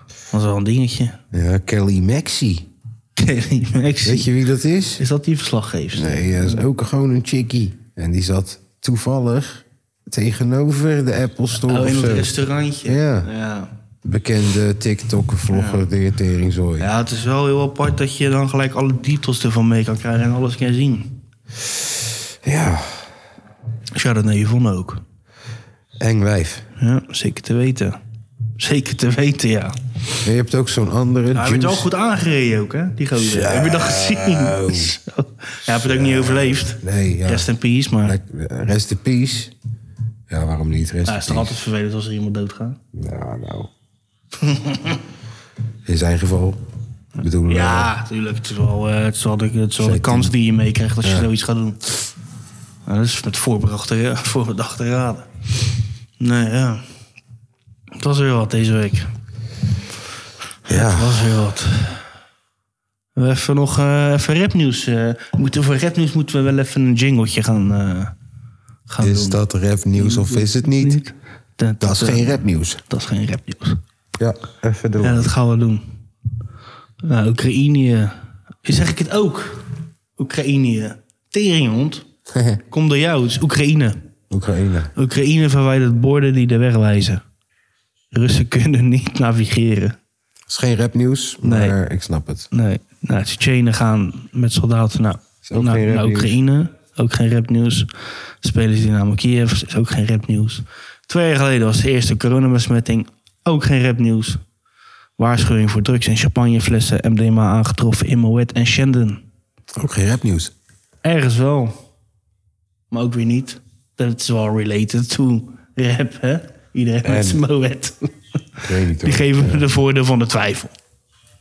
Speaker 2: Dat was wel een dingetje. [laughs]
Speaker 1: ja, Eh, Kelly Maxi.
Speaker 2: Kelly Maxi.
Speaker 1: Weet je wie dat is?
Speaker 2: Is dat die verslaggever?
Speaker 1: Nee, dat is ook gewoon een chickie. En die zat toevallig tegenover de Apple Store
Speaker 2: Oh,
Speaker 1: of
Speaker 2: in het
Speaker 1: zo.
Speaker 2: restaurantje.
Speaker 1: Ja.
Speaker 2: ja.
Speaker 1: Bekende TikToker, vlogger, de teringzooi.
Speaker 2: Ja, het is wel heel apart dat je dan gelijk alle details ervan mee kan krijgen en alles kan zien.
Speaker 1: Ja,
Speaker 2: Shout-out naar Yvonne ook.
Speaker 1: eng wijf.
Speaker 2: Ja, zeker te weten. Zeker te weten, ja.
Speaker 1: En je hebt ook zo'n andere...
Speaker 2: Hij werd wel
Speaker 1: Juice-
Speaker 2: goed aangereden ook, hè, die gozer. Heb je dat gezien? Zo. Hij heeft het ook niet overleefd.
Speaker 1: Nee, ja.
Speaker 2: Rest in peace, maar
Speaker 1: Lek- Rest in peace. Ja, waarom niet? Rest
Speaker 2: ja,
Speaker 1: in
Speaker 2: het is toch
Speaker 1: peace.
Speaker 2: altijd vervelend als er iemand doodgaat.
Speaker 1: Ja, nou. [laughs] In zijn geval. Ik bedoel, eh,
Speaker 2: Ja, natuurlijk. Het is wel, eh, het is wel, de, het is wel de
Speaker 1: Zeker.
Speaker 2: kans die je meekrijgt als je zoiets gaat doen. Nou, dat is met voorbedachte, [laughs] voorbedachte raden. Nee, ja. Het was weer wat deze week. Het
Speaker 1: ja.
Speaker 2: was weer wat. Even nog eh even rapnieuws. eh. We moeten voor rapnieuws moeten we wel even een jingletje gaan, eh, gaan doen.
Speaker 1: Is dat rapnieuws of is het niet?
Speaker 2: Dat,
Speaker 1: Dat is
Speaker 2: eh,
Speaker 1: geen rapnieuws.
Speaker 2: Dat is geen rapnieuws.
Speaker 1: Ja, even
Speaker 2: Ja,
Speaker 1: doen.
Speaker 2: dat gaan we doen. Nou, Oekraïne. Zeg ik het ook? Oekraïne. Teringhond. Kom door jou, het is Oekraïne.
Speaker 1: [laughs] Oekraïne.
Speaker 2: Oekraïne verwijdert borden die de weg wijzen. Russen kunnen niet navigeren.
Speaker 1: Het is geen rapnieuws, maar
Speaker 2: Nee.
Speaker 1: ik snap het.
Speaker 2: Nee. Nou, Tsjetsjenen gaan met soldaten naar,
Speaker 1: Is ook
Speaker 2: naar,
Speaker 1: geen
Speaker 2: naar
Speaker 1: rapnieuws.
Speaker 2: Oekraïne. Ook geen rapnieuws. Spelers die naar Kiev is ook geen rapnieuws. Twee jaar geleden was de eerste coronabesmetting. Ook geen rapnieuws. Waarschuwing voor drugs en champagneflessen. MDMA aangetroffen in Moet en Shenzhen.
Speaker 1: Ook geen rapnieuws.
Speaker 2: Ergens wel. Maar ook weer niet. Dat is wel related to rap, hè? Iedereen met zijn Moet.
Speaker 1: Ik weet niet
Speaker 2: Die
Speaker 1: hoor.
Speaker 2: geven me de voordeel van de twijfel.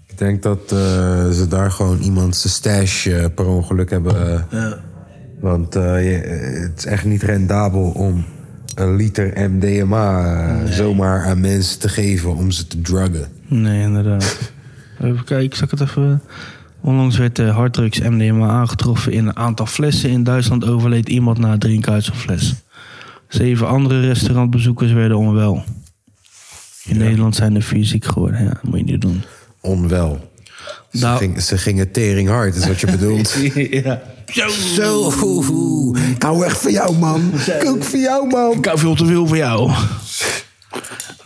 Speaker 1: Ik denk dat eh, ze daar gewoon iemand zijn stash eh, per ongeluk hebben. eh, Want eh, je- eh, het is echt niet rendabel om een liter MDMA eh, zomaar aan mensen te geven om ze te druggen.
Speaker 2: Nee, inderdaad. [laughs] Even kijken, zal ik het even... Onlangs werd eh, harddrugs MDMA aangetroffen in een aantal flessen. In Duitsland overleed iemand na het drinken uit zo'n fles. Zeven andere restaurantbezoekers werden onwel. In Nederland zijn er vier ziek geworden. Ja, dat moet je niet doen.
Speaker 1: Onwel. Ze,
Speaker 2: Nou-
Speaker 1: ging- ze gingen tering hard, is [laughs] wat je bedoelt.
Speaker 2: [laughs] ja.
Speaker 1: Zo, hoe, hoe. Ik hou echt van jou, man. Ik ook van jou, man.
Speaker 2: Ik hou veel te veel voor jou.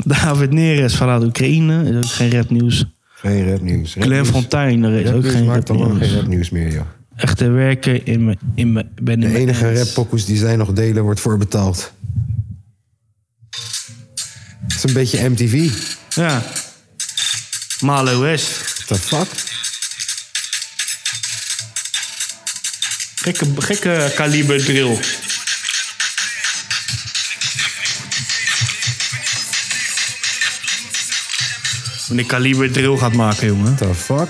Speaker 2: David Neres vanuit Oekraïne. Is ook geen rapnieuws.
Speaker 1: Geen rapnieuws.
Speaker 2: Glenn Fontijn, er is ook
Speaker 1: Rapnieuws
Speaker 2: geen
Speaker 1: maakt al lang geen
Speaker 2: rapnieuws.
Speaker 1: rapnieuws meer, joh.
Speaker 2: Echte werken in me, in me, ben
Speaker 1: De enige rappokkoes die zij nog delen wordt voorbetaald. Het is een beetje MTV.
Speaker 2: Ja. Malo West.
Speaker 1: What the fuck?
Speaker 2: Gekke, gekke kaliber drill. Wanneer kaliber drill gaat maken, jongen.
Speaker 1: What the fuck?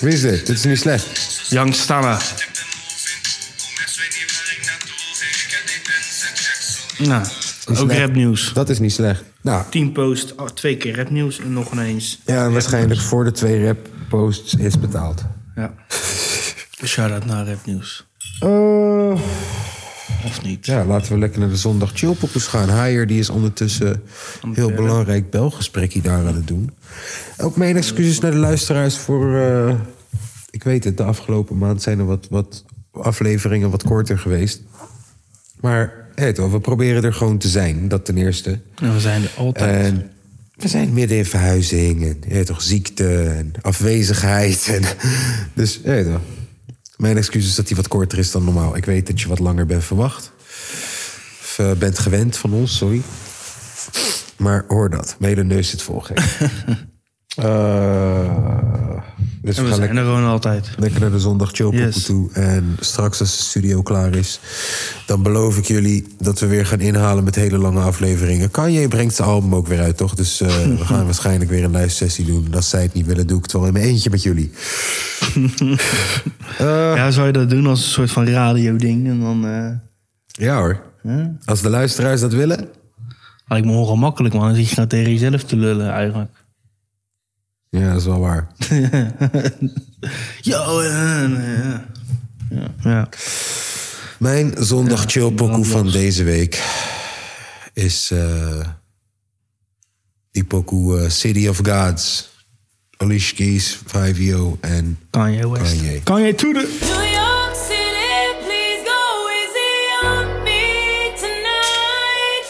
Speaker 1: Wie is dit? Dit is niet slecht.
Speaker 2: Young Stanna. Nou, ook
Speaker 1: leuk.
Speaker 2: rapnieuws.
Speaker 1: Dat is niet slecht. Nou,
Speaker 2: 10 post, oh, twee keer rapnieuws en nog ineens.
Speaker 1: ja, waarschijnlijk voor de twee rap posts is betaald.
Speaker 2: Ja. [laughs] Dus Shout-out naar rapnieuws.
Speaker 1: Eh,
Speaker 2: Of niet?
Speaker 1: ja, laten we lekker naar de zondag chillpoppers gaan. Haier die is ondertussen heel belangrijk belgesprekje daar aan het doen. Ook mijn excuses naar de luisteraars voor... eh, ik weet het, de afgelopen maand zijn er wat, wat afleveringen wat korter geweest. Maar hé, toch, we proberen er gewoon te zijn, dat ten eerste.
Speaker 2: En we zijn er altijd.
Speaker 1: En we zijn midden in verhuizing en je weet toch, ziekte en afwezigheid. En, [laughs] dus je weet toch, mijn excuus is dat die wat korter is dan normaal. Ik weet dat je wat langer bent verwacht. Of eh, bent gewend van ons, sorry. Maar hoor dat, mijn hele neus zit vol.
Speaker 2: [laughs]
Speaker 1: gek. dus Eh, dus
Speaker 2: en
Speaker 1: we
Speaker 2: we
Speaker 1: gaan
Speaker 2: zijn
Speaker 1: lekker,
Speaker 2: er gewoon altijd.
Speaker 1: lekker naar de zondag chillpoppen
Speaker 2: Yes.
Speaker 1: toe. En straks als de studio klaar is... dan beloof ik jullie dat we weer gaan inhalen met hele lange afleveringen. Kanye brengt zijn album ook weer uit, toch? Dus eh, we gaan waarschijnlijk weer een luistersessie doen. En als zij het niet willen, doe ik het wel in mijn eentje met jullie.
Speaker 2: Ja, zou je dat doen als een soort van radio-ding? En dan. eh
Speaker 1: Ja hoor. Als de luisteraars dat willen...
Speaker 2: Lijkt me ongemakkelijk, man. Dan zit je nou tegen jezelf te lullen, eigenlijk.
Speaker 1: Ja, dat is wel waar.
Speaker 2: Yo, eh, eh, ja. Ja. ja.
Speaker 1: Mijn zondag chillpokoe van deze week is eh, die pokoe eh, City of Gods. Alicia Keys, 5EO en
Speaker 2: Kanye West.
Speaker 1: Kanye.
Speaker 2: Kanye to the...
Speaker 9: New York City, please go easy on me tonight.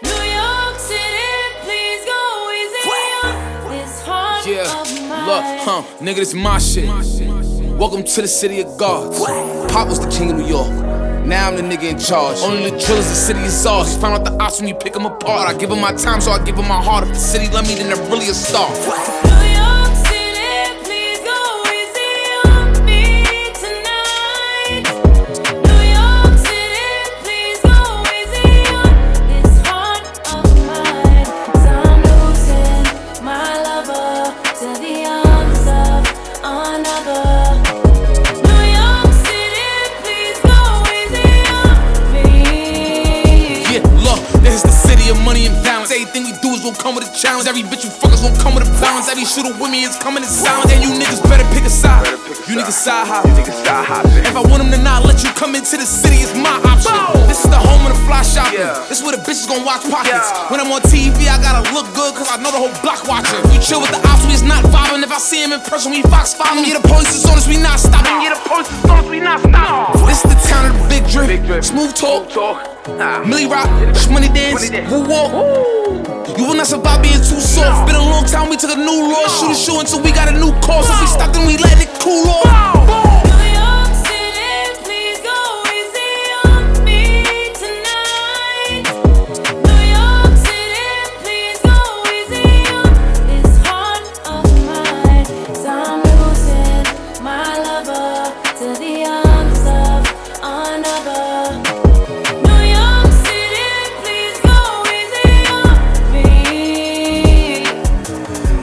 Speaker 9: New York City, please go easy on this heart
Speaker 10: Yeah,
Speaker 9: of mine.
Speaker 10: look, huh, nigga, this my shit. Welcome to the city of God. Pop was the king of New York. Now I'm the nigga in charge. Only the drillers, the city is ours. You find out the ops when you pick them apart. I give them my time, so I give them my heart. If the city love me, then they're really a star.
Speaker 9: New York
Speaker 10: gon' come with a challenge. Every bitch you fuckers gon' come with a balance. Every shooter with me is coming in silence. And you niggas better pick a side. You niggas side hop. If I want them to not let you come into the city, it's my option. This is the home of the fly shopping. This where the bitches gon' watch pockets. When I'm on TV, I gotta look good, cause I know the whole block watching. We chill with the ops, we is not vibing. If I see him in person, we box following. Yeah, the police is on us, we not stopping. Mm. Yeah, the police is on us, we not stopping. This is the town of the big drip. Smooth talk. Millie Rock, Shmoney Dance, Woo Walk. You will not survive being too soft. Been a long time, we took a new law. Shoot a shoe until we got a new course. If we stop, then we let it cool off.
Speaker 9: New York City, please go easy on me tonight. New York City, please go easy on this heart of mine. I'm losing my lover to the arms of another. New York City, please go easy on me.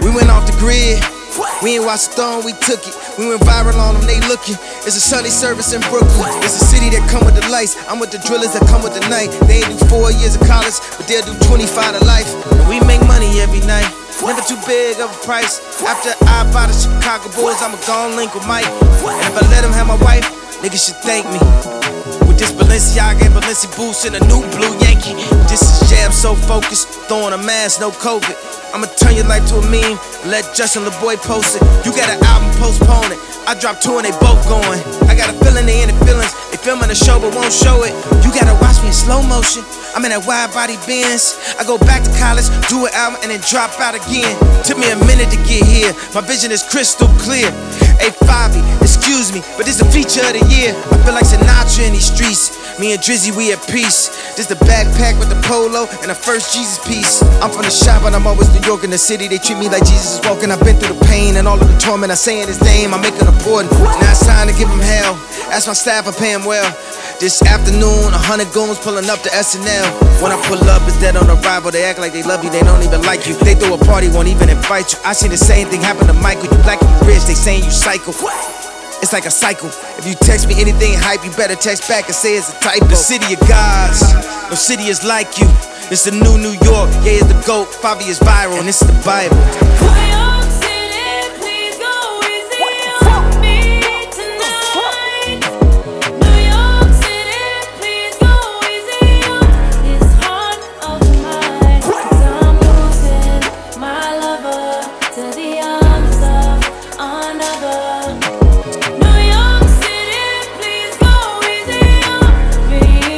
Speaker 11: We went off the grid. We ain't watched Stone, we took it. We went viral on them, they looking. It's a Sunday service in Brooklyn. It's a city that come with the lights. I'm with the drillers that come with the night. They ain't do four years of college, but they'll do 25 to life. And we make money every night. Never too big of a price. After I buy the Chicago Bulls, I'ma gone link with Mike. And if I let him have my wife, niggas should thank me. With this Balenciaga and Balenci boots and a new blue Yankee. This is jab so focused, throwing a mask, no COVID. I'ma turn your life to a meme, and let Justin LeBoy post it. You got an album, postpone it. I dropped two and they both going. I got a feeling they in the feelings. They filming the show but won't show it. You gotta watch me in slow motion. I'm in that wide body Benz. I go back to college, do an album, and then drop out again. Took me a minute to get here. My vision is crystal clear. Hey, Fabi, excuse me, but this the feature of the year. I feel like Sinatra in these streets. Me and Drizzy, we at peace. This the backpack with the polo and the first Jesus piece. I'm from the shop, but I'm always New York in the city. They treat me like Jesus is walking. I've been through the pain and all of the torment. I say in his name, I make it important. Now it's time to give him hell. Ask my staff, I pay him well. This afternoon, a hundred goons pulling up to SNL. When I pull up, it's dead on arrival. They act like they love you, they don't even like you. They throw a party, won't even invite you. I seen the same thing happen to Michael. You black, you rich, they saying you psycho. It's like a cycle. If you text me anything hype, you better text back and say it's a typo. The city of gods, no city is like you. It's the new New York, yeah, it's the GOAT. Fabi is viral, and it's the Bible.
Speaker 9: New York City, please go easy on me tonight. New York City, please go easy on this heart of mine. I'm losing my lover to the arms of another. New York City, please go easy on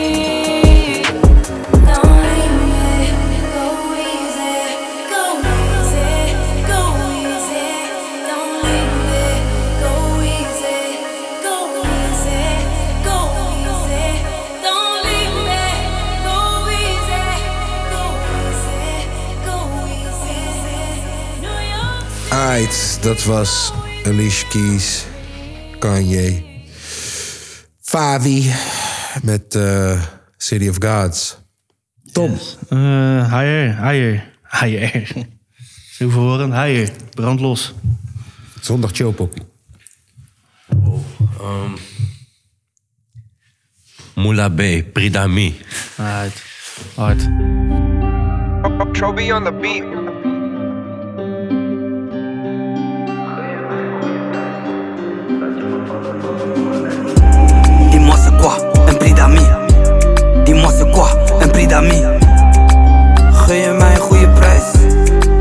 Speaker 9: me. Don't leave me. Go easy, go easy, go easy. Don't leave me. Go easy, go easy, go easy. Don't leave me. Go easy, go easy, go easy. New York.
Speaker 1: Alright, dat was Alicia Keys, Kanye, Favi met eh, City of Gods. Tom,
Speaker 2: Eh higher, higher, higher. [laughs] Zo verwarrend, higher. Brand los.
Speaker 1: zondag chillpoppie.
Speaker 4: Moula B, Pridami.
Speaker 2: Hard. Hard.
Speaker 5: Troby on the beat.
Speaker 12: Dis-moi c'est quoi un prix d'amis Dis-moi c'est quoi un prix d'amis Geef mij een goede prijs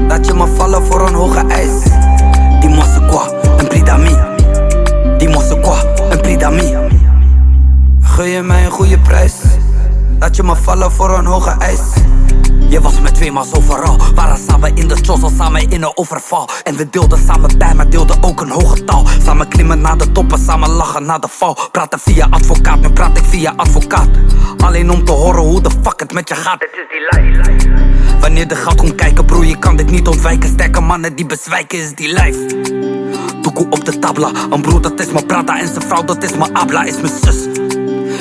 Speaker 12: Laat je me vallen voor een hoge eis Dis-moi c'est quoi un prix d'amis Dis-moi c'est quoi un prix d'amis Geef mij een goede prijs Laat je me vallen voor een hoge eis je was me tweemaal zo verhaal Waren samen in de chozo, samen in een overval En we deelden samen bij, maar deelden ook een hoge taal Samen klimmen naar de toppen, samen lachen naar de val Praten via advocaat, nu praat ik via advocaat Alleen om te horen hoe de fuck het met je gaat Het is die lijf Wanneer de goud komt kijken broer, je kan dit niet ontwijken Sterke mannen die bezwijken is die lijf Doekoe op de tabla, een broer dat is mijn Prada En zijn vrouw dat is mijn Abla, is mijn zus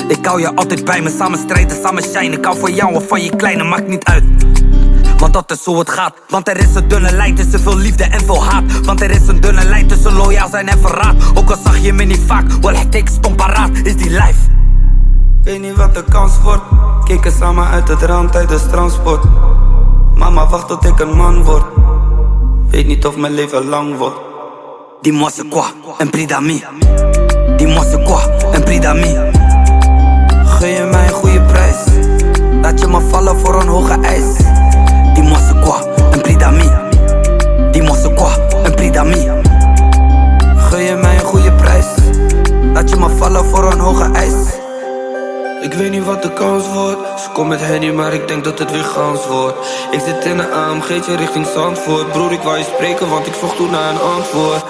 Speaker 12: ik hou je altijd bij me, samen strijden, samen shine. Ik hou van jou of van je kleine, maakt niet uit. Want dat is hoe het gaat. Want er is een dunne lijn tussen veel liefde en veel haat. Want er is een dunne lijn tussen loyaal zijn en verraad. Ook al zag je me niet vaak, wel ik stond paraat, is die lijf. Weet niet wat de kans wordt. Keken samen uit het raam tijdens transport. Mama, wacht tot ik een man word. Weet niet of mijn leven lang wordt. Die mosse quoi, en pridami. Die mosse quoi, en pridami. Gun je mij een goede prijs. Laat je me vallen voor een hoge eis. Die mosse quoi, en pridami. Die mosse quoi, en pridami. Gun je mij een goede prijs. Laat je me vallen voor een hoge eis.
Speaker 13: Ik weet niet wat de kans wordt. Ze komt met Henny, maar ik denk dat het weer gans wordt. Ik zit in een AMG'tje richting Zandvoort. Broer, ik wou je spreken, want ik vroeg toen naar een antwoord.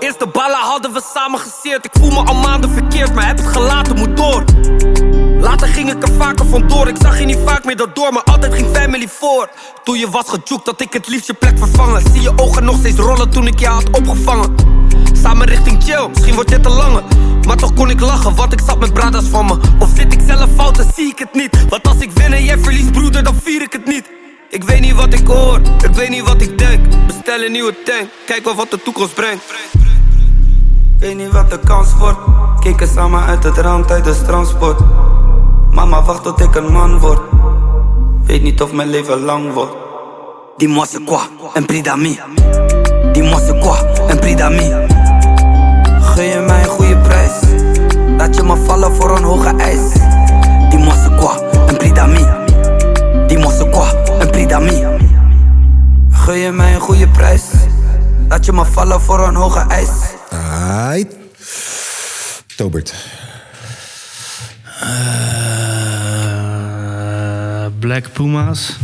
Speaker 14: Eerste ballen hadden we samen geseerd. Ik voel me al maanden verkeerd, maar heb het gelaten, moet door. Later ging ik er vaker vandoor. Ik zag je niet vaak meer dat door, maar altijd ging family voor. Toen je was gejoekt, dat ik het liefst je plek vervangen. Zie je ogen nog steeds rollen toen ik je had opgevangen. Samen richting chill, misschien wordt dit te lange. Maar toch kon ik lachen, want ik zat met bradas van me. Of zit ik zelf fout en zie ik het niet. Want als ik win en jij verliest, broeder, dan vier ik het niet. Ik weet niet wat ik hoor, ik weet niet wat ik denk. Bestel een nieuwe tank, kijk wel wat de toekomst brengt.
Speaker 12: Weet niet wat de kans wordt. Keken samen uit het raam tijdens transport. Mama, wacht tot ik een man word. Weet niet of mijn leven lang wordt.
Speaker 15: Die mosse quoi, en pridami. Die mosse quoi,
Speaker 12: en pridami. Gun je mij een goede prijs. Laat je me vallen voor een hoge eis. Die mosse quoi, en pridami. Die mosse quoi, en pridami. Gun je mij een goede prijs. Laat je me vallen voor een hoge eis.
Speaker 1: Aight. Tobert.
Speaker 2: Eh, Black Puma's.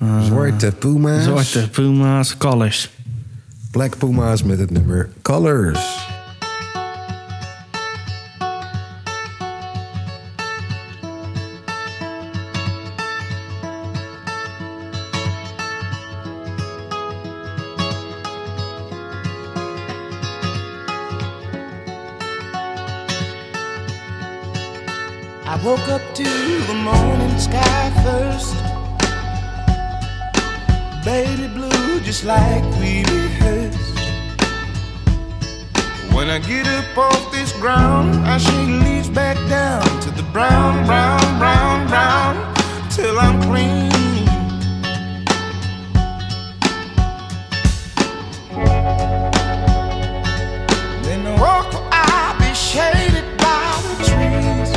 Speaker 2: Eh,
Speaker 1: Zwarte Puma's.
Speaker 2: Zwarte Puma's, Colors.
Speaker 1: Black Puma's met het nummer Colors.
Speaker 8: I woke up to the morning sky first. Baby blue, just like we rehearsed. When I get up off this ground, I shake leaves back down to the brown, brown, brown, brown, till I'm clean. Then I walk, I'll be shaded by the trees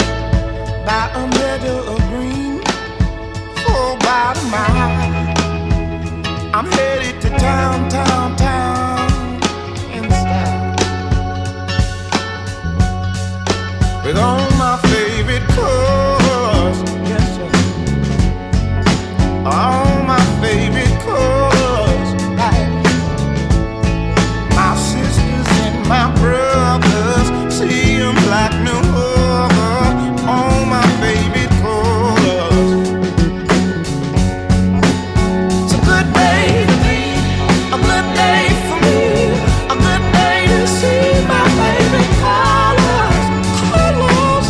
Speaker 8: by a meadow of green for about a mile. I'm headed to town, town, town in style with all my favorite colors. Yes, sir. All my favorite colors. My sisters and my brothers see 'em like no other. All my favorite colors. It's a good day to be, a good day for me, a good day to see my favorite colors, colors.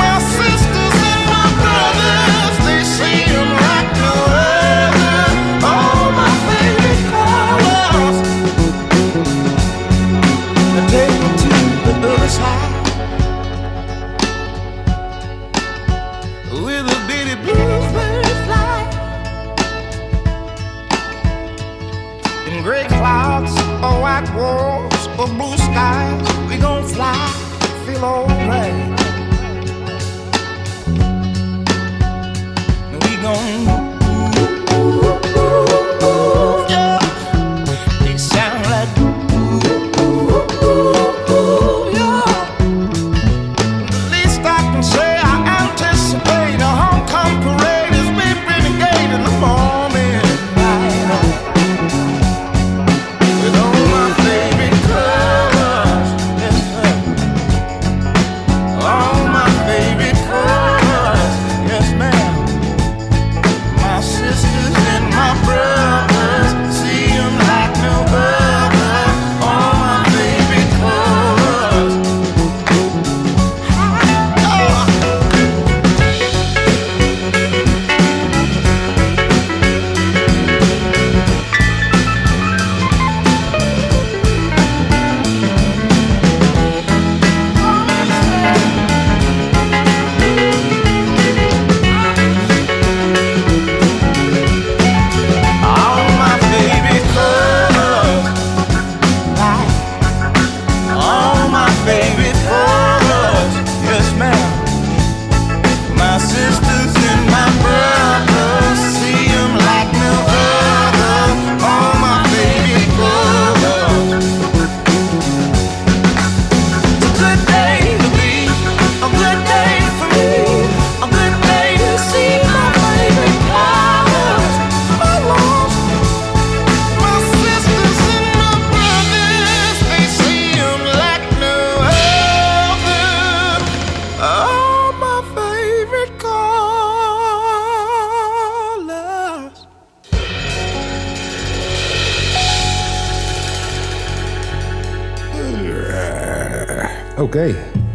Speaker 8: My sisters and my brothers, they see 'em like no other. All my favorite colors. Now take me to the other side. with a bitty bluebird fly in gray clouds or white walls or blue skies we gon' fly feel alright we gon' yeah they sound like yeah least I can say I anticipate a homecoming parade as we renegade in the morning light. With all my favorite colors, yes, sir. All my favorite colors, yes, ma'am.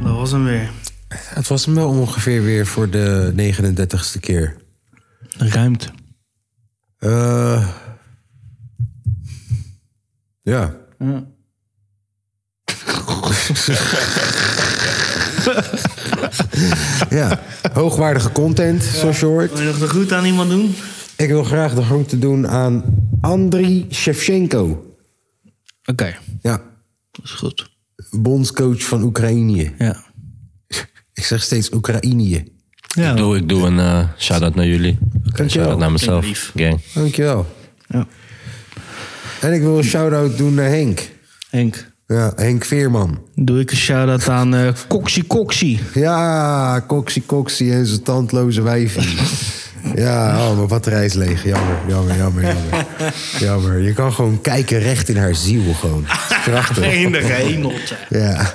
Speaker 2: Dat was hem weer.
Speaker 1: Het was hem wel ongeveer weer voor de 39ste keer.
Speaker 2: Ruimte.
Speaker 1: Eh, ja. ja, hoogwaardige content, zoals je hoort.
Speaker 2: Wil je nog de groet aan iemand doen?
Speaker 1: Ik wil graag de groente doen aan Andriy Shevchenko. Oké. Ja. Dat
Speaker 2: is goed.
Speaker 1: Bondscoach van Oekraïne.
Speaker 2: Ja.
Speaker 1: Ik zeg steeds Oekraïne.
Speaker 4: ik, doe, ik doe een eh, shout-out naar jullie. Een
Speaker 1: Dankjewel.
Speaker 4: shout-out naar mezelf,
Speaker 1: Lief.
Speaker 4: gang.
Speaker 1: Dankjewel.
Speaker 2: Ja.
Speaker 1: En ik wil een shout-out doen naar Henk.
Speaker 2: Henk.
Speaker 1: Ja, Henk Veerman.
Speaker 2: Doe ik een shout-out aan eh Coxie Coxie.
Speaker 1: Ja, Coxie Coxie en zijn tandloze
Speaker 2: [laughs]
Speaker 1: wijfie. ja, oh, mijn batterij is leeg. Jammer, jammer, jammer, jammer. Jammer. Je kan gewoon kijken recht in haar ziel gewoon.
Speaker 2: [laughs]
Speaker 1: Prachtig.
Speaker 2: In de hemeltje.
Speaker 1: Ja.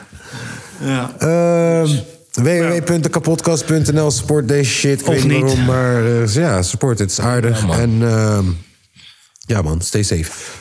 Speaker 2: Ja.
Speaker 1: Ehm, www.kapotkast.nl Support deze shit. Ik
Speaker 2: Of
Speaker 1: weet
Speaker 2: niet.
Speaker 1: waarom, maar eh, ja, support. Het is aardig. en ehm, ja man, stay safe.